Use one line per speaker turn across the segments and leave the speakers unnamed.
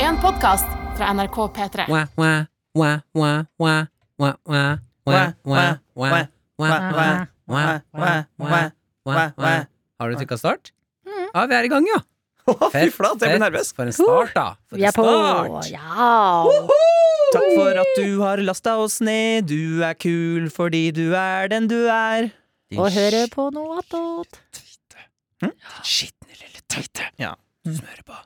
en podkast fra NRK P3.
Wah, wah, wah, wah, wah, wah, wah, wah, wah, wah, wah, wah, wah, wah, wah, wah, wah. Har du trykka start?
Mm.
Ja, vi er i gang, ja.
Fy flate, jeg blir
Fett.
nervøs.
For en start, da. For
Vi er
en
på!
start.
Ja!
Takk for at du har lasta oss ned. Du er kul fordi du er den du er.
Din
Og høre på noe attåt.
Skitne lille teite.
Ja.
Smøre på.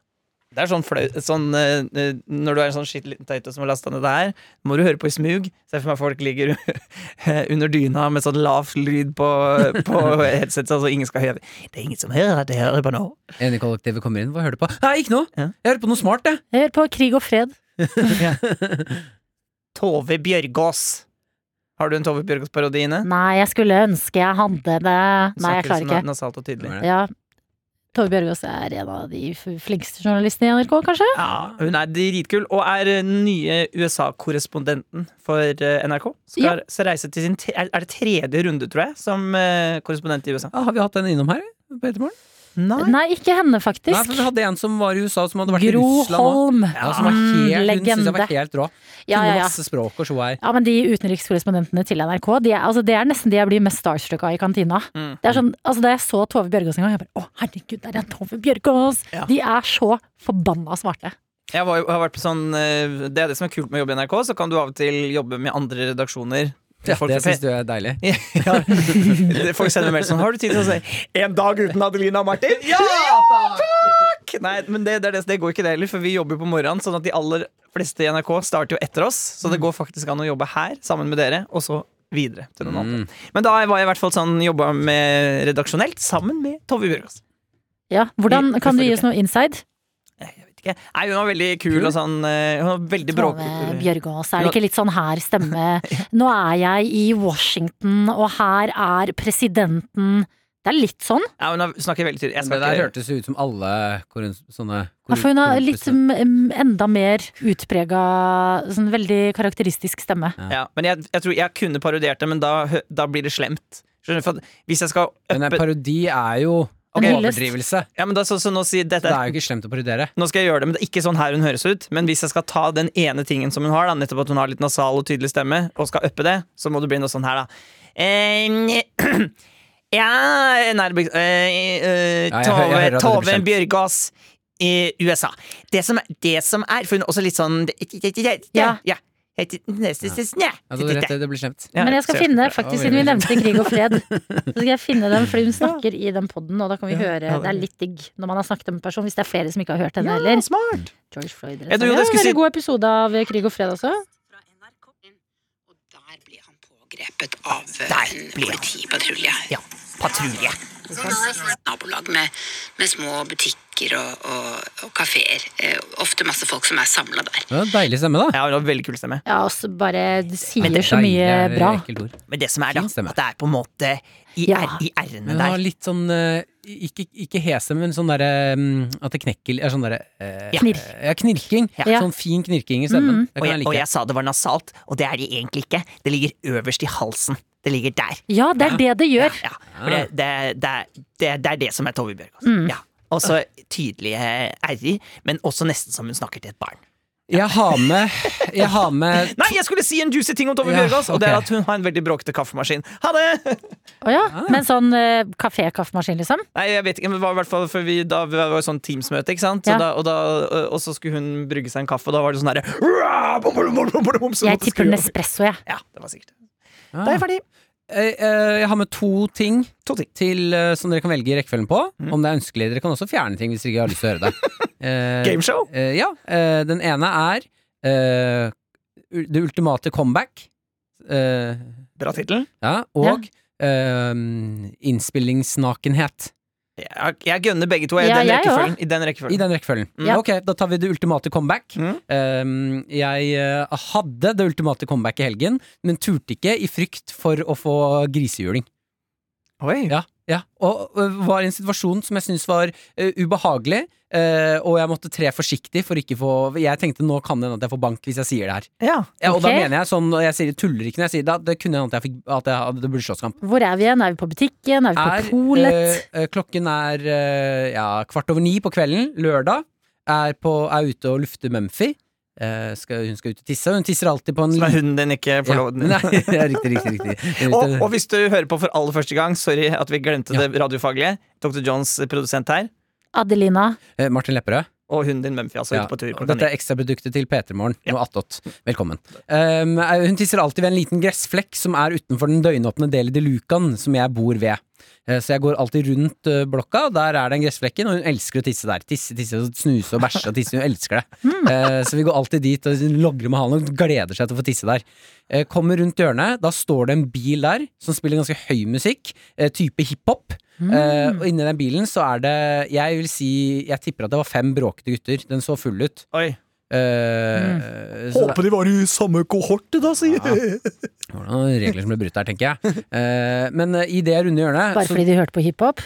Det er sånn flaut sånn, eh, eh, Når du er en sånn skitt liten teite som har lasta ned det her, må du høre på i smug. Se for meg folk ligger under dyna med sånn lav lyd på, på headsetet, så ingen skal høre. Det er ingen som hører at jeg hører på nå.
En i kollektivet kommer inn. Hva hører du på? Nei, ikke noe.
Ja.
Jeg hører på noe smart, jeg.
Hør på Krig og fred.
Tove Bjørgaas. Har du en Tove Bjørgaas-parodi inne?
Nei, jeg skulle ønske jeg hadde det. Nei, jeg
Snakker
klarer
sånn
ikke.
Nasalt og tydelig.
Hvem er det?
Ja. Tove Bjørgaas er en av de f- flinkeste journalistene i NRK, kanskje?
Ja, hun er dritkul, og er den nye USA-korrespondenten for eh, NRK. Skal
Ja.
så reise til sin te er er det tredje runde, tror jeg, som eh, korrespondent i USA.
Ja, har vi hatt den innom her? På Ettermorgen?
Nei.
Nei, ikke henne,
Nei, for
faktisk.
vi hadde en som var i USA, som hadde vært i
Gro
Russland òg.
Holm.
Ja, som var
Mm,
helt, hun synes jeg
Legende.
var helt rå.
Ja,
Kunne
ja, ja.
masse språk og sjå her.
Ja, men De utenrikskorrespondentene til NRK, de er, altså, det er nesten de jeg blir mest starstruck av i kantina.
Mm.
Det er sånn, altså, da jeg så Tove Bjørgaas en gang, jeg bare å herregud, der er Tove Bjørgaas!
Ja.
De er så forbanna smarte.
Jeg var, jo- har vært på sånn eh, Det er det som er kult med å jobbe i NRK, så kan du av og til jobbe med andre redaksjoner.
Ja,
Folk-
det syns du er deilig.
ja. Folk sender meg melding sånn Har du tid til å si 'En dag uten Adelina og Martin'? Ja! Takk! Nei, men det, det, er det, det går ikke det heller, for vi jobber jo på morgenen. Sånn at de aller fleste i NRK starter jo etter oss, så det går faktisk an å jobbe her sammen med dere, og så videre til noen andre. Men da var jeg i hvert fall sånn jobba med redaksjonelt sammen med Tove Bjørgaas.
Ja,
Vi-
Hvordan kan du
vi
gi
får
oss noe inside?
Jeg vet ikke. Nei, hun var veldig kul og sånn eh, Hun var veldig
Tove
bråkete.
Bjørgaas, er det ikke litt sånn her stemme? Nå er jeg i Washington, og her er presidenten. Det er litt sånn.
Ja, hun har- snakker veldig tydelig. Jeg
Det
skal
der
ikke
hørtes jo ut som alle korun, sånne
Ja, For Altså, hun har
korrumpus-
litt m- m- enda mer utprega, sånn veldig karakteristisk stemme.
Ja, men jeg, jeg tror jeg kunne parodiert det, men da, hø- da blir det slemt. Skjønner du? For at hvis jeg skal
Men en
uppe
parodi er jo
En
en
hyllest.
overdrivelse.
Ja, men da så, så nå si dette
Det er jo ikke slemt å parodiere.
Nå skal jeg gjøre det, men det er ikke sånn her hun høres ut. Men hvis jeg skal ta den ene tingen som hun har, da, nettopp at hun har litt nasal og tydelig stemme, og skal uppe det, så må det bli noe sånn her, da. Eh, ja Nei, det blir eh, eh,
Ja, jeg hø- jeg
Tove,
hører at det blir
Tove
slemt.
Bjørgaas i USA. Det som, er, det som er For hun er også litt sånn
Ja.
ja.
Ja, det, Altså, rett, det blir slemt.
Ja,
Men jeg skal
så-
finne,
Ja,
faktisk siden vi
veldig.
nevnte krig og fred, så skal jeg finne den, fordi hun snakker i den poden, og da kan vi høre Det er litt digg når man har snakket om en person, hvis det er flere som ikke har hørt henne heller.
Smart.
George Floyd.
Ja, du,
det
jeg
er en
skulle si-
veldig god episode av Krig og fred også.
fra NRK. Og der ble han pågrepet av eh, en politipatrulje.
Ja. Patrulje.
Nabolag med, med små butikker og, og, og kafeer. Eh, ofte masse folk som er samla der.
Det var en deilig stemme, da.
Ja, hun har veldig kul stemme.
Ja, og så bare sier så
Deilig
mye
er et
bra.
ekkelt ord.
Men det som er, da,
Fin stemme.
at det er på en måte i,
Ja.
r- i r-ene
Men den
der.
har litt sånn eh, ikke, ikke hese, men sånn derre mm, At det knekker er sånn derre eh,
Ja.
Knirk.
eh, Ja, knirking.
Ja. Mm.
Sånn fin knirking i stemmen. Det
Og
kan
jeg,
jeg
og
like.
jeg sa det var nasalt, og det er det egentlig ikke. Det ligger øverst i halsen. Det ligger der.
Ja, det er det det gjør.
Ja. For det, det, det, det, det er det som er Tove Bjørgaas.
Mm.
Ja. Og så tydelige r-er, men også nesten som hun snakker til et barn.
Jeg har med Jeg har med
Nei, jeg skulle si en juicy ting om Tove
Ja,
Bjørgaas, og det er
ok.
at hun har en veldig bråkete kaffemaskin. Ha det!
Å ja. Men sånn eh, kafé-kaffemaskin, liksom.
Nei, jeg vet ikke, men det var i hvert fall for vi, da, vi var jo sånn Teams-møte, ikke sant? Så
Ja.
da, og, da, og så skulle hun brygge seg en kaffe, og da var det sånn herre så
Jeg
måtte skru
tipper
over.
Nespresso, jeg.
Ja, det var sikkert det.
Ja.
Da er jeg ferdig.
Eh, eh, Jeg har med to ting
To ting. Mm.
til, eh, som dere kan velge i rekkefølgen på. Om det er ønskelig. Dere kan også fjerne ting hvis dere ikke har lyst til å høre det. Eh,
Gameshow.
eh, ja. eh, den ene er eh, ul- det ultimate comeback. eh,
Bra tittel.
ja, og eh, innspillingsnakenhet.
Jeg, jeg gønner begge to i
Ja,
den
jeg
rekkefølgen. I den
I
rekkefølgen.
den rekkefølgen.
Ja.
Ok, da tar vi det ultimate comeback.
Mm.
Eh, jeg eh, hadde det ultimate comeback i helgen, men turte ikke i frykt for å få grisehjuling.
Oi.
Ja, ja. Og ø, var i en situasjon som jeg syntes var ø, ubehagelig, ø, og jeg måtte tre forsiktig for ikke få Jeg tenkte nå kan det hende at jeg får bank hvis jeg sier det her.
Ja.
Ja, og da
Ok.
mener jeg sånn, og jeg sier tuller ikke når jeg sier det, at det kunne hende at, jeg fikk, at jeg hadde, det burde slåsskamp.
Hvor er vi igjen? Er vi på butikken? Er vi på
Er, eh,
polet?
ø, ø, klokken er ø, ja, kvart over ni på kvelden, lørdag. er, på, er ute og lufter Mumphy. Eh, skal, hun skal ut og tisse, og hun tisser alltid på en
Så er
liten
hunden din ikke
ja,
forlovet.
Nei, ja, riktig, riktig. riktig.
Og, og hvis du hører på for aller første gang, sorry at vi glemte
Ja.
det radiofaglige. Dr. Jones, produsent her,
Adelina.
Eh, Martin Lepperød.
og hunden din Mumphy, altså,
Ja.
ute på tur. klokka
Dette
ni.
er ekstraproduktet til P3morgen.
Ja.
Noe attåt. Velkommen. Um, hun tisser alltid ved en liten gressflekk som er utenfor den døgnåpne delen til lukan som jeg bor ved. Eh, Så jeg går alltid rundt eh, blokka, og der er den gressflekken, og hun elsker å tisse der. Tisse, tisse, og snuse og bæsje og tisse. Hun elsker det.
Hmm.
Eh, Så vi går alltid dit og logrer med halen og gleder seg til å få tisse der. Eh, Kommer rundt hjørnet, da står det en bil der som spiller ganske høy musikk, eh, type hiphop.
Mm.
Eh, og inni den bilen så er det Jeg vil si Jeg tipper at det var fem bråkete gutter. Den så full ut.
Oi.
Mm.
Eh, så det
de var i samme kohorte, da, sier jeg.
det var noen regler som ble brutt der, tenker jeg. Eh, men eh, i det runde hjørnet
Bare
så-
fordi de hørte på hiphop?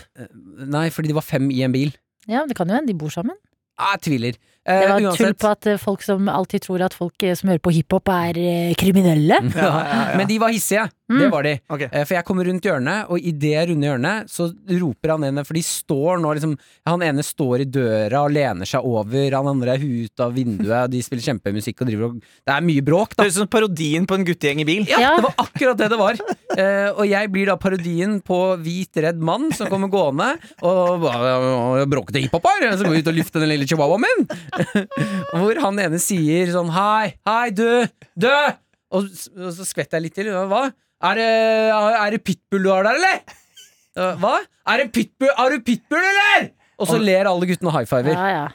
Nei, fordi de var fem i en bil.
Ja, det kan jo hende de bor sammen.
Ah, jeg tviler. Eh,
Det var tull
uansett.
på at eh, folk som alltid tror at folk eh, som hører på hiphop er eh, kriminelle.
Ja, ja, ja. Men de var hissige. Det
Mm.
var de.
Ok.
Eh, For jeg kommer rundt hjørnet, og i det runde hjørnet så roper han ene, for de står nå liksom Han ene står i døra og lener seg over, han andre er huet ut av vinduet, og de spiller kjempemusikk og driver og Det er mye bråk, da.
Det høres ut som parodien på en guttegjeng i bil.
Ja,
Ja.
det var akkurat det det var. Eh, og jeg blir da parodien på hvit, redd mann som kommer gående og og- og bråkete hiphoper som går ut og lufter den lille chihuahuaen min. Hvor han ene sier sånn Hei, hei, du, du! Og, s- og så skvetter jeg litt til. Hva? Er det, er det pitbull du har der, eller? Eh, Hva? Er det pitbull, har du pitbull, eller? Og så ler alle guttene og high fiver.
Ja, ja.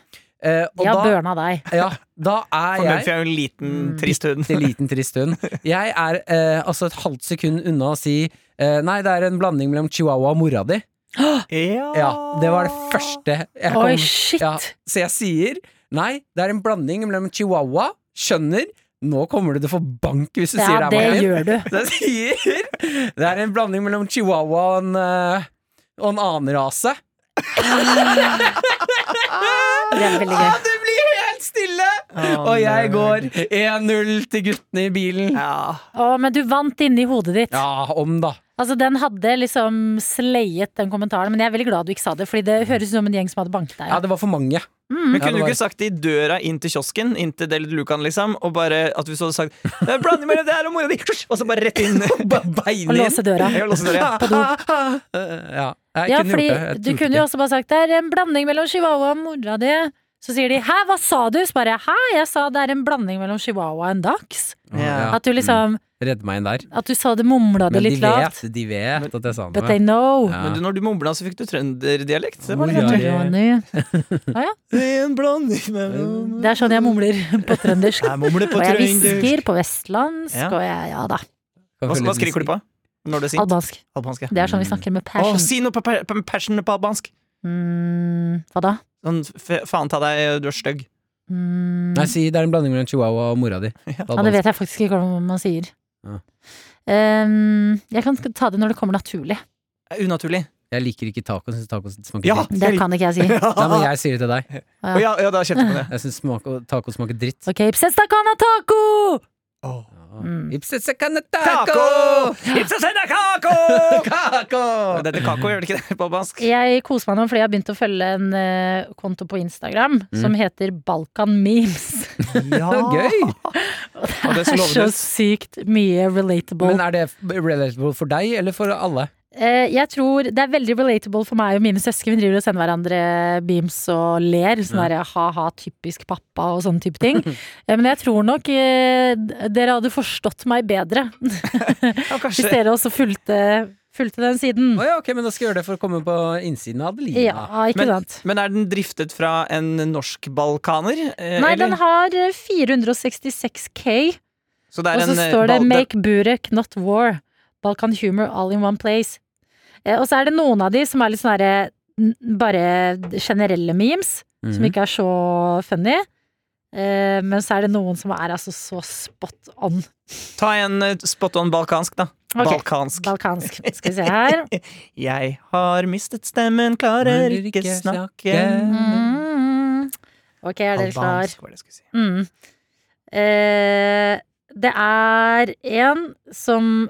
Eh, og
De har
da,
burna deg.
ja, da er
For
jeg Mm.
Mumphy er jo en liten, trist hund.
bitte liten trist hund. Jeg er eh, altså et halvt sekund unna å si eh, Nei, det er en blanding mellom chihuahua og mora di. Ja, Det var det første jeg kom
Oi, shit!
Ja, Så jeg sier nei, det er en blanding mellom chihuahua, skjønner Nå kommer du til å få bank hvis du
Ja,
sier det
det
er meg.
gjør du.
Så jeg sier det er en blanding mellom chihuahua og en, eh, og en annen rase.
Det er veldig gøy.
Det blir helt stille! og jeg går 1-0 til guttene i bilen.
Ja.
Å, men du vant inni hodet ditt.
Ja, om, da.
Altså, den hadde liksom slayet den kommentaren, men jeg er veldig glad du ikke sa det, fordi det høres ut som en gjeng som hadde banket deg.
Ja, det var for mange.
Men
Ja, det
kunne du
var-
ikke sagt det i døra inn til kiosken, inn til Del Lucan, liksom, og bare at hvis du hadde sagt «Det er en blanding mellom det her og mora di, og så bare rett inn Bare
Og
bein inn.
låse døra.
Ja, låse døra.
På do.
Eh, Ja, jeg
Ja,
kunne
fordi
gjort det. Jeg
du
turte
kunne
ikke.
jo også bare sagt det er en blanding mellom chihuahua og mora di. Så sier de 'hæ, hva sa du?' Så bare 'hæ, jeg sa det er en blanding mellom chihuahua og en dachs'.
Ja.
At du liksom
Redde meg inn der.
At du sa det mumla
Mm.
det
Men de
litt lavt.
vet, de vet at jeg sa
But they
noe.
know.
Ja.
Men du, når du mumla, så fikk du trønderdialekt. Det var
Oi,
litt artig.
oi, oi.
Det er en blanding mellom
Det er sånn jeg mumler på trøndersk.
Jeg mumler på
Og jeg
trøndersk.
hvisker på vestlandsk,
Ja.
og jeg, ja da,
Hva, hva skriker du på når du er sint?
albansk.
Albansk. ja.
Det er sånn vi snakker med
Å,
passion.
si noe på, per- på passion på albansk!
Mm, hva da?
Sånn, f faen ta deg, du er stygg.
Mm,
Nei, si det er en blanding mellom chihuahua og mora di.
ja, det vet jeg faktisk ikke hva man sier.
Ja.
Um, jeg kan ta det når det kommer naturlig.
Det er Unaturlig.
Jeg liker ikke taco. Synes taco smaker
Ja!
dritt.
Det kan ikke jeg si.
Nei, men jeg sier det til deg.
Å, ja, ja, da kjente jeg på det.
Jeg syns smak- taco smaker dritt.
Ok, psesta kana taco! Mm.
Ipsesekane
Taco!
taco!
It's a senda kako!
Taco!
Det heter kako, gjør det ikke det på albansk?
Jeg koser meg nå fordi jeg har begynt å følge en eh, konto på Instagram
Mm.
som heter Balkan Memes.
Ja.
Gøy!
Og det
Det
som
er så
lovdes.
sykt mye relatable.
Men eh, er det relatable for deg eller for alle?
Eh, jeg tror Det er veldig relatable for meg og mine søsken. Vi driver og sender hverandre beams og ler. Sånn der, ha-ha, typisk pappa og sånne type ting. Eh, Men jeg tror nok eh, d- dere hadde forstått meg bedre
Ja,
hvis
kanskje.
dere også fulgte, fulgte den siden.
Å ja, ok, men da skal jeg gjøre det for å komme på innsiden av Adelina.
Ja, ikke
Men,
sant?
men er den driftet fra en norsk balkaner? eh,
Nei,
eller?
den har eh, 466K,
så det er
og så
en, eh,
står det
bal-
'Make Burek, not war'. Balkan humor all in one place. Eh, Og så er det noen av de som er litt sånn herre Bare generelle memes.
Mhm.
som
Mm.
ikke er så funny. Eh, men så er det noen som er altså så spot on.
Ta en eh, spot on balkansk, da.
Ok,
Balkansk.
Balkansk. Skal vi se her.
Jeg har mistet stemmen, klarer ikke snakke.
Mm. Ok, er dere klar?
var det jeg skulle si.
Mm. Eh, det er en som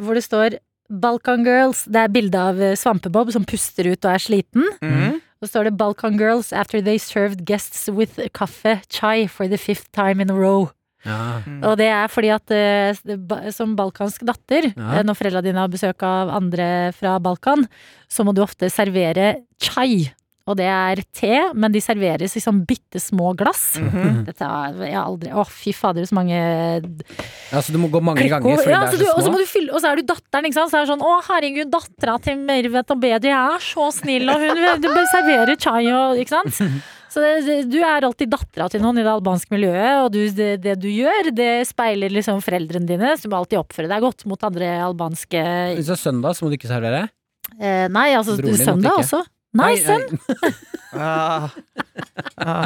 hvor det står Balkan Girls. Det er bilde av eh, Svampebob som puster ut og er sliten.
Mhm.
Og Så står det 'Balkan girls after they served guests with kaffe chai for the fifth time in a row'.
Ja.
Og det er fordi at eh, ba- som balkansk datter,
Ja.
eh, når foreldra dine har besøk av andre fra Balkan, så må du ofte servere chai. Og det er te, men de serveres i sånn bitte små glass. Dette har jeg aldri Å, fy fader, så mange
Altså, du må gå mange ganger
klikkord.
fordi
Ja,
det
så
er
du, og
så
så
små.
må du fylle Og så er du datteren, ikke sant. Så er det sånn Å, herregud, dattera til Mervet og Bedri er så snill, og hun serverer chai og Ikke sant. Så det, det, du er alltid dattera til noen i det albanske miljøet, og du, det, det du gjør, det speiler liksom foreldrene dine, så du må alltid oppføre deg godt mot andre albanske eh,
Hvis det er søndag, så må du ikke servere?
Nei, altså
Broren din måtte
søndag
ikke.
også. Nei, sønn!
Ah. Ah.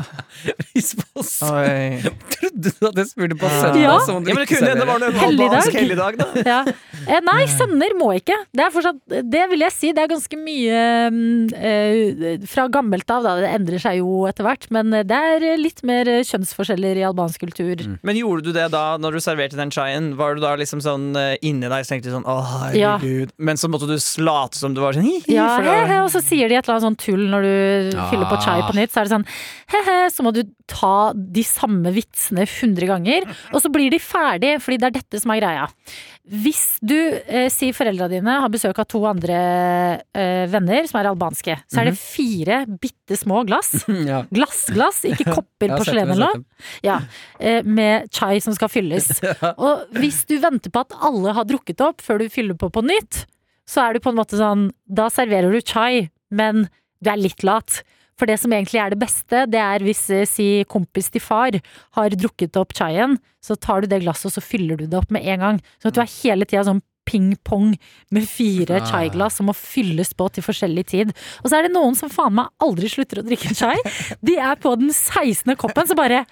Hvis på søndag
Oi.
Trodde du at jeg spurte på
Ja.
søndag,
Ja.
så må du
Ja, men det
ikke
kunne hende det var
servere?
noe
Helligdag.
albansk helligdag, da.
Ja. Eh, Nei, sønner må ikke. Det er fortsatt Det vil jeg si, det er ganske mye mm, eh, fra gammelt av, da. Det endrer seg jo etter hvert, men eh, det er litt mer eh, kjønnsforskjeller i albansk kultur.
Men gjorde du det da, når du serverte den chaien? Var du da liksom sånn eh, inni deg så tenkte du sånn åh,
Ja.
herregud. Men så måtte du late som du var sånn hi-hi.
Ja,
for det
he,
var-
he, og så sier de et eller annet sånn tull når du
Ah.
fyller på chai på nytt. Så er det sånn he-he, så må du ta de samme vitsene 100 ganger. Og så blir de ferdig, fordi det er dette som er greia. Hvis du eh, sier foreldra dine har besøk av to andre eh, venner som er albanske, så
Mhm.
er det fire bitte små glass.
Ja.
Glassglass, ikke kopper,
Jeg har sett
porselen
dem, jeg
eller
har
noe
sett dem.
ja, eh, med chai som skal fylles. Og hvis du venter på at alle har drukket opp før du fyller på på nytt, så er du på en måte sånn Da serverer du chai, men du er litt lat. For det som egentlig er det beste, det er hvis eh, si kompis til far har drukket opp chaien, så tar du det glasset og så fyller du det opp med en gang. Sånn at du er hele tida sånn ping-pong med fire
Ah.
chai-glass som må fylles på til forskjellig tid. Og så er det noen som faen meg aldri slutter å drikke chai. De er på den 16. koppen, så bare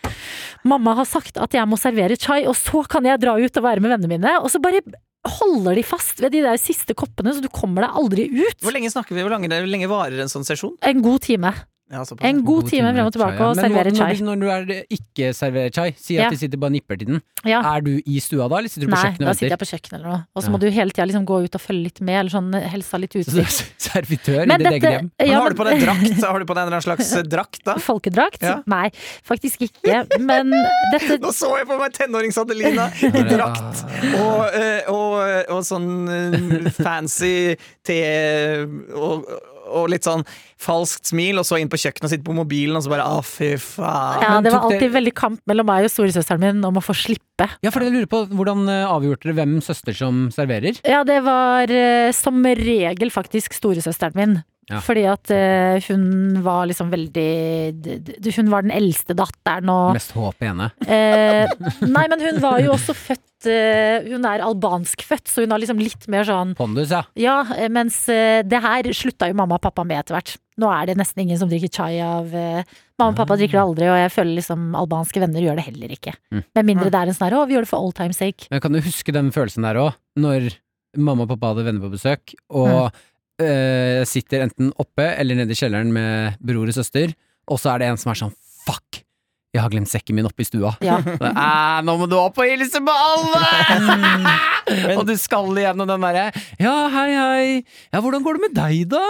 Mamma har sagt at jeg må servere chai, og så kan jeg dra ut og være med vennene mine. Og så bare holder de fast ved de der siste koppene, så du kommer deg aldri ut.
Hvor lenge snakker vi? Hvor lenge, hvor lenge varer en sånn sesjon?
En god time.
Ja, altså såpass.
En god time frem og tilbake
chai, ja.
og
Men
servere
når-
chai.
Når, du- når du er det ikke serverer chai, si at
Ja.
de sitter bare og nipper til den.
Ja.
Er du i stua da, eller sitter du på
Nei,
kjøkkenet
da
og
sitter
venter?
jeg på kjøkkenet eller noe. Og så
Ja.
må du hele tida liksom gå ut og følge litt med, eller sånn helsa litt
Så du er
utsikt.
servitør i ditt eget hjem?
Men
ja,
har du
men-
på deg drakt? Har du på deg en eller annen slags eh, drakt, da?
Folkedrakt?
Ja.
Nei, faktisk ikke. Men dette
Nå så jeg på meg tenårings-Adelina i drakt og, eh, og, og sånn eh, fancy te og, og litt sånn falskt smil, og så inn på kjøkkenet og sitte på mobilen, og så bare å, fy faen.
ja,
Men
Det var
tok dere-
alltid veldig kamp mellom meg og storesøsteren min om å få slippe.
Ja, for jeg lurer på hvordan eh, avgjorde dere hvem søster som serverer?
Ja, det var eh, som regel faktisk storesøsteren min.
Ja.
Fordi at eh, hun var liksom veldig d- d- Hun var den eldste datteren og
Mest håp i henne.
eh, Nei, men hun var jo også født eh, Hun er albanskfødt, så hun har liksom litt mer sånn
Pondus, ja.
Ja, eh, mens eh, det her slutta jo mamma og pappa med etter hvert. Nå er det nesten ingen som drikker chai av eh, Mamma og pappa drikker det aldri, og jeg føler liksom albanske venner gjør det heller ikke.
Mm.
Med mindre det er en sånn her å, vi gjør det for old times sake.
Men jeg kan jo huske den følelsen der òg, når mamma og pappa hadde venner på besøk, og
Mm.
eh, sitter enten oppe eller nede i kjelleren med bror og søster, og så er det en som er sånn fuck, jeg har glemt sekken min oppe i stua.
Ja.
Æ, nå må du opp og hilse på alle!
Mm.
og du skal igjennom den derre ja, hei, hei, ja, hvordan går det med deg da?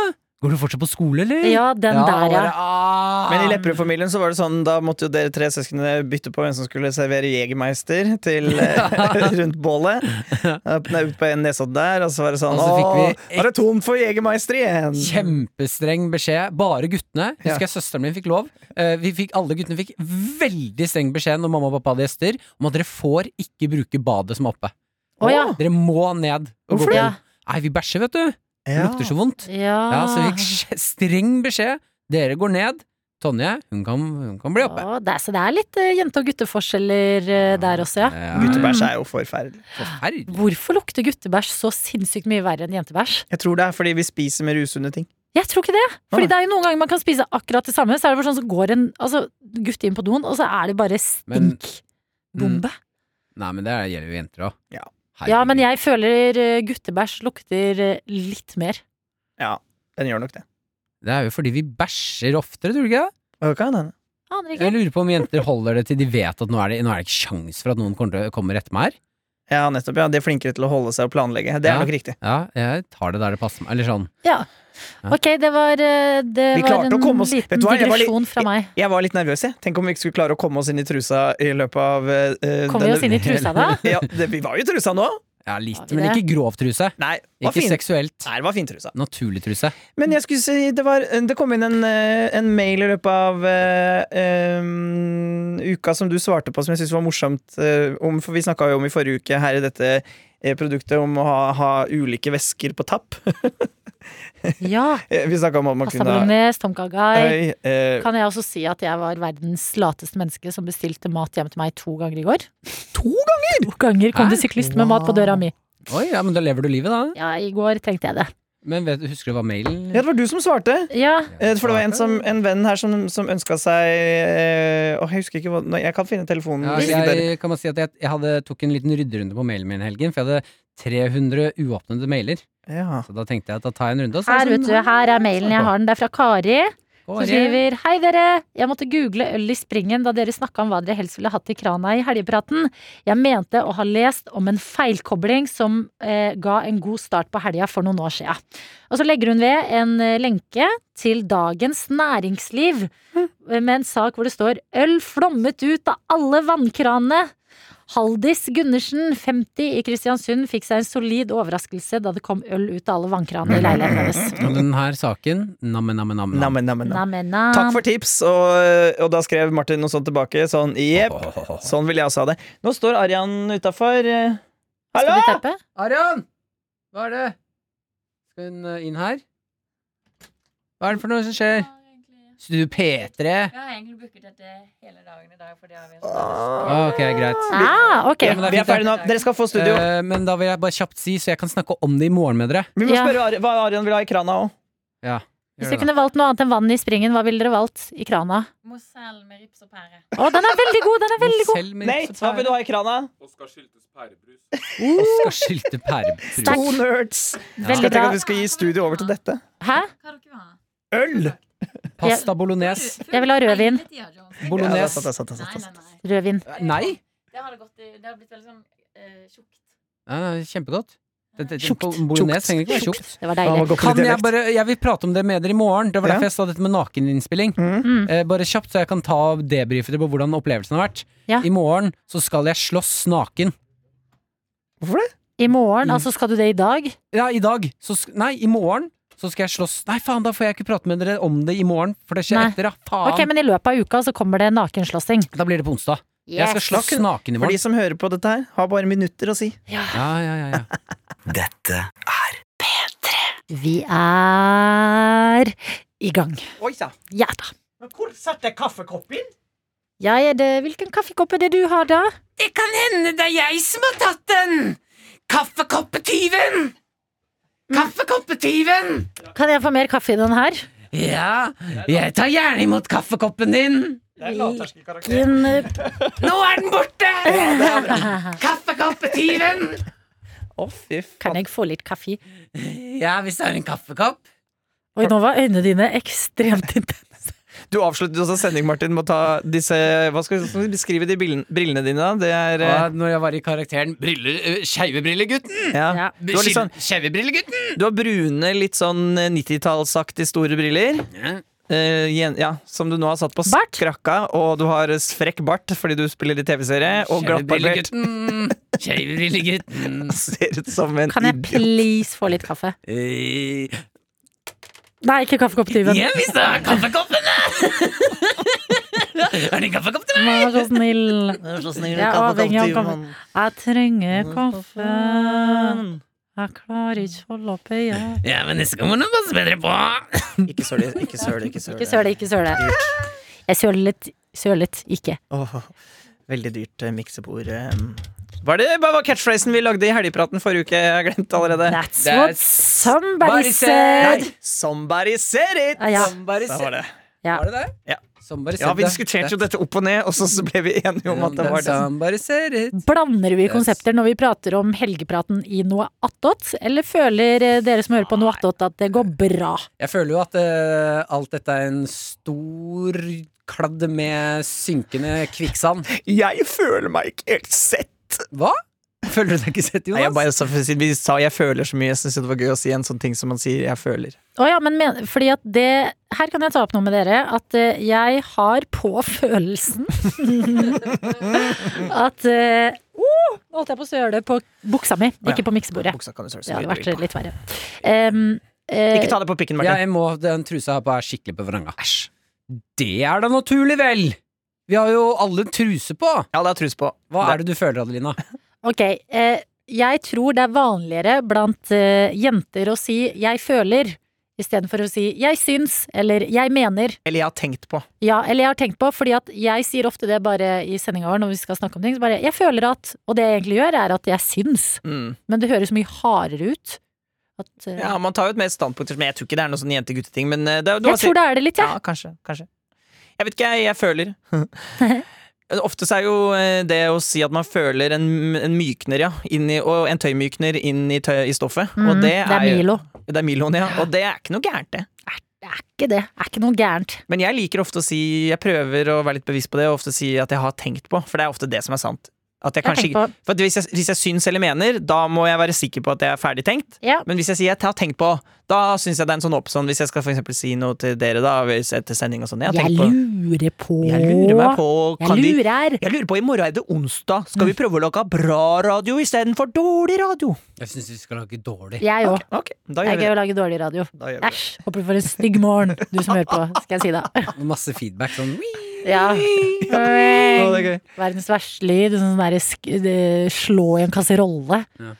Går du fortsatt på skole, eller? «Ah!»
ja, den der, ja.
Men i
Ah.
ja.
Lepperød-familien så var det sånn, da måtte jo dere tre søsknene bytte på hvem som skulle servere Jegermeister til eh, rundt bålet. Opp- nei, Ut på en nesodd der, og så var det sånn
Og så fikk
Å,
vi-
er det tomt for Jegermeister igjen?
Kjempestreng beskjed. Bare guttene.
Ja.
Husker jeg søsteren min fikk lov. Eh, Vi fikk, alle guttene fikk veldig streng beskjed når mamma og pappa hadde gjester, om at dere får ikke bruke badet som er oppe.
Å, ja.
Dere må ned. og gå
Hvorfor
på
det?
do. Nei, vi bæsjer, vet du. Det
Ja.
lukter så vondt.
Ja.
Ja, så vi fikk sj- streng beskjed. Dere går ned. Tonje, hun kan, hun kan bli oppe.
Å, det er, så det er litt eh, jente- og gutteforskjeller eh, der også, ja.
Ja.
Guttebæsj er jo forferdelig.
Forferdelig.
Hvorfor lukter guttebæsj så sinnssykt mye verre enn jentebæsj?
Jeg tror det er fordi vi spiser med rusunne ting.
Jeg tror ikke det.
Nei.
Fordi det er jo noen ganger man kan spise akkurat det samme, så er det bare sånn så går en altså, gutt inn på doen, og så er det bare
Men-
Mm,
stinkbombe.
Nei, men det gjelder jo jenter òg.
Ja.
ja, men jeg føler eh, guttebæsj lukter eh, litt mer.
Den gjør nok det.
Det er jo fordi vi bæsjer oftere, tror du ikke det?
Hva kan hende?
Aner ikke.
Jeg lurer på om jenter holder det til de vet at nå er det, nå er det ikke sjans for at noen kommer, til, kommer etter meg her.
Ja, nettopp. ja, De er flinkere til å holde seg og planlegge. Det er
Ja.
nok riktig.
Ja, jeg tar det der det passer meg. Eller sånn.
Ja.
Ja.
Ok, det var, eh, det
Vi
var
klarte å komme
en
oss- Vet
liten
du hva, jeg var litt-
digresjon fra meg.
Jeg var litt nervøs. jeg Tenk om vi ikke skulle klare å komme oss inn i trusa i løpet av eh,
Kom vi oss inn i trusa da?
ja, det, Vi var jo i trusa nå.
Ja, litt,
Har vi
men
det?
ikke grov truse.
Nei, det var
Ikke
fin.
seksuelt.
Nei, det var fin trusa.
Naturlig truse.
Men jeg skulle si, det, var, det kom inn en, eh, en mail i løpet av eh, em, uka som du svarte på, som jeg syntes var morsomt. eh, om, for vi snakka jo om i forrige uke her i dette eh, produktet om å ha, ha ulike væsker på tapp.
Ja.
Eh, vi snakka om at man
Pasta
kunne ha
bolognese, tomkagai.
Oi, eh,
Kan jeg også si at jeg var verdens lateste menneske som bestilte mat hjem til meg to ganger i går?
To ganger!
To ganger kom det
Hæ?
syklist med mat på døra mi.
Oi, ja, men da lever du livet, da.
Ja, i går trengte jeg det.
Men vet, husker du hva mailen
Ja, det var du som svarte.
Ja,
Eh, For det var en, som, en venn her som, som ønska seg eh, Åh, jeg husker ikke hva Nei, Jeg kan finne telefonen.
Ja,
hvis ikke dere-
jeg kan man si at jeg, jeg hadde, tok en liten rydderunde på mailen min i helgen, for jeg hadde 300 uåpnede mailer.
ja.
Så da tenkte jeg at da tar jeg en runde. Og så er
her
det
vet
sånn,
du, her er mailen jeg har den. Det er fra Kari, som
Kåre.
skriver Hei dere, jeg måtte google øl i springen da dere snakka om hva dere helst ville hatt i krana i helgepraten. Jeg mente å ha lest om en feilkobling som eh, ga en god start på helga for noen år sia. Og så legger hun ved en eh, lenke til Dagens Næringsliv eh, med en sak hvor det står 'Øl flommet ut av alle vannkranene'. Haldis Gundersen, 50 i Kristiansund, fikk seg en solid overraskelse da det kom øl ut av alle vannkranene i leiligheten hennes.
Og den her saken, namme, namme, namme. namme.
Namme, namme, namme.
Namen, nam.
Takk for tips, og, og da skrev Martin noe sånt tilbake. Sånn, jepp. Sånn vil jeg også ha det. Nå står Arian utafor. Hallo!
Skal du teppe?
Arian! Hva er det? Skal hun eh, inn her? Hva er det for noe som skjer? Du P3?
Jeg har egentlig booket dette hele dagen i dag. Fordi jeg har en
Ah,
Ah, Ok, greit.
Ah, ok.
Ja, men det er
Vi er
fint, det.
ferdige nå. Dere skal få studio.
Eh, men da vil jeg bare kjapt si, så jeg kan snakke om det i morgen med dere.
Vi må
ja.
spørre Ari- hva Arian vil ha i krana òg.
Ja, gjør
Hvis du
det da.
kunne valgt noe annet enn vann i springen, hva ville dere valgt i krana?
Mozell med rips og pære.
Å, den er veldig god! Den er veldig god!
Selv med
Nate,
rips
hva
og
vil du ha i krana?
Oskar Skiltes pærebrus.
Oskar Sylte pærebrus.
Sterk.
To nerds. Skal
Veldig bra.
tenke at vi skal gi studio over til dette.
Hæ?
Hva dere vil ha?
Øl!
Pasta bolognese.
Full-
Jeg vil ha rødvin.
Hele tida, Jones. Nei,
Ja, det er
Bolognese.
sant, det er sant, det er sant, det er
nei,
sant.
nei.
Rødvin.
Nei.
Det hadde gått i Det hadde blitt veldig sånn eh, tjukt.
Ja, det er kjempegodt. Det, det,
Tjukt.
Bolognese
Tjukt.
trenger ikke være tjukt.
Det var
Ja, det
deilig.
var godt.
Kan jeg,
dialekt.
bare, jeg vil prate om det med dere i morgen. Det var
Ja.
derfor jeg sa dette med nakeninnspilling.
Mm.
Mm.
Eh, bare kjapt, så jeg kan ta debrife det på hvordan opplevelsen har vært.
Ja.
I morgen så skal jeg slåss naken.
Hvorfor det?
I morgen, altså skal du det i dag?
Ja, i dag. Så, sk- nei, i morgen så skal jeg slåss Nei, faen, da får jeg ikke prate med dere om det i morgen, for det skjer
Nei.
etter, ja. Faen.
Ok, men i løpet av uka så kommer det nakenslåssing.
Da blir det på onsdag. Jeg skal slåss naken i
For de
morgen.
som hører på dette her, har bare minutter å si.
Ja, ja, ja, ja.
Vi er i gang.
Oi sa.
Ja da.
Men hvor satte jeg kaffekoppen?
Jeg er det, hvilken kaffekopp er det du har da?
Det kan hende det er jeg som har tatt den! Kaffekoppetyven! Kaffekoppetyven!
Kan jeg få mer kaffe i den her?
Ja, jeg tar gjerne imot kaffekoppen din.
Det er lavterskelkarakter.
Din,
Nå er den borte! Kaffekoppetyven!
Å, fy
kan
faen.
jeg få litt kaffe?
Ja, hvis det er en kaffekopp.
Oi, nå var øynene dine ekstremt intense.
Du avsluttet også sending, Martin, med å ta disse Hva skal vi- skal vi beskrive de brillen- brillene dine, da? Det er eh,
Ja, når jeg var i karakteren briller, øh, Skeive briller, gutten!
ja.
Ja.
Du har, litt sånn,
Skeive briller, gutten!
du har brune, litt sånn eh, 90-tallsaktig store briller. Eh, gjen- ja, som du nå har satt på
Bart?
skrakka, og du har eh, frekk bart fordi du spiller i TV-serie, og
Skeive briller,
glattbarbert.
gutten! Skeive briller, gutten!
Ser ut som en
Kan jeg
idiot.
please få litt kaffe?
Eh,
Nei, ikke kaffekopptyven.
Ja, hvis det er kaffekoppen! er det en kaffekopp til meg?
Vær så snill. Jeg er avhengig av kaffe. Jeg trenger kaffe. Jeg klarer ikke å holde opp øya.
Ja, men neste gang må du passe bedre på!
Ikke søl det, ikke søl det. Ikke søl
Ikke
det.
søle, ikke søle. Jeg sølet, sølet ikke.
Åh, veldig dyrt eh, miksebord. eh. Hva er det- hva var catchphrasen vi lagde i helgepraten forrige uke? Jeg har glemt allerede.
That's what
That's
somebody
what I said.
said!
Nei, somebody said it!
Ah, ja.
Somebody
Der var det.
Ja.
Var det det?
Ja.
Somebody
Ja,
said
vi
det.
diskuterte jo dette opp og ned, og så så ble vi enige om at det var det.
Somebody said it.
Blander vi konsepter når vi prater om helgepraten i noe attåt, eller føler eh, dere som hører på noe attåt at det går bra?
Jeg føler jo at eh, alt dette er en stor kladd med synkende kvikksand.
Jeg føler meg ikke helt sett.
Hva? Føler du deg ikke sett,
Nei, jeg,
Jonas?
bare, sa- vi sa 'jeg føler' så mye. Jeg syns det var gøy å si en sånn ting som man sier 'jeg føler'.
Å ja, men men, fordi at det Her kan jeg ta opp noe med dere. At eh, jeg har på følelsen at eh, oh, Nå holdt jeg på å søle på buksa mi,
ja.
ikke på miksebordet.
Buksa kan du søle så
Det hadde
mye du
vært
vil på.
litt verre. Em, eh,
Ikke ta det på pikken,
Ja,
Martin.
jeg må, den trusa jeg har på er skikkelig på vranga. Æsj. Det er da naturlig, vel! Vi har jo alle truse på!
Ja, det er trus på.
Hva er det du føler, Adelina?
ok, eh, jeg tror det er vanligere blant eh, jenter å si 'jeg føler' istedenfor å si 'jeg syns' eller 'jeg mener'.
Eller jeg har tenkt på.
Ja, eller jeg har tenkt på, fordi at jeg sier ofte det bare i sendinga vår når vi skal snakke om ting, så bare 'jeg føler at' Og det jeg egentlig gjør, er at jeg syns.
Mm.
Men det høres så mye hardere ut. At, eh,
Ja, Man tar jo et mer standpunkt, men jeg tror ikke det er noe sånn jente-gutte-ting. Men eh, det, er- du har
jeg tror det er det litt, jeg.
Ja, kanskje, kanskje. Jeg vet ikke, jeg, jeg føler. Ofte så er jo eh, det å si at man føler en, en mykner, ja, inn i, og en tøymykner inn i, tøy, i stoffet.
Mm,
og det er, jo-
Milo.
Det er Miloen, ja. Og det er ikke noe gærent, det.
Det er ikke det. Det er ikke noe gærent.
Men jeg liker ofte å si Jeg prøver å være litt bevisst på det, og ofte si at jeg har tenkt på, for det er ofte det som er sant. At jeg
Jeg har
kanskje,
tenkt
ikke-
på
for at hvis, jeg, hvis jeg syns eller mener, da må jeg være sikker på at jeg er ferdig tenkt.
Ja.
Men hvis jeg sier jeg har tenkt på, da syns jeg det er en sånn åpson. Hvis jeg skal for eksempel si noe til dere, da, hvis- etter sending og sånn. Jeg har tenkt
Jeg
på
lurer på
Jeg lurer meg på kan
Jeg
de,
lurer.
jeg lurer på, i morgen er det onsdag. Skal vi prøve å lage bra radio istedenfor dårlig radio?
Jeg syns vi skal lage dårlig.
Jeg òg.
Ok, da
Det
gjør vi
er gøy
det.
å lage dårlig radio.
Da gjør vi det.
Æsj. Håper du får en stygg morgen, du som hører på, skal jeg si da.
Masse feedback sånn «Wii».
Ja.
Å, det er gøy.
Verdens verste lyd. Sånn der, sk- det- slå i en kasserolle.
Ja.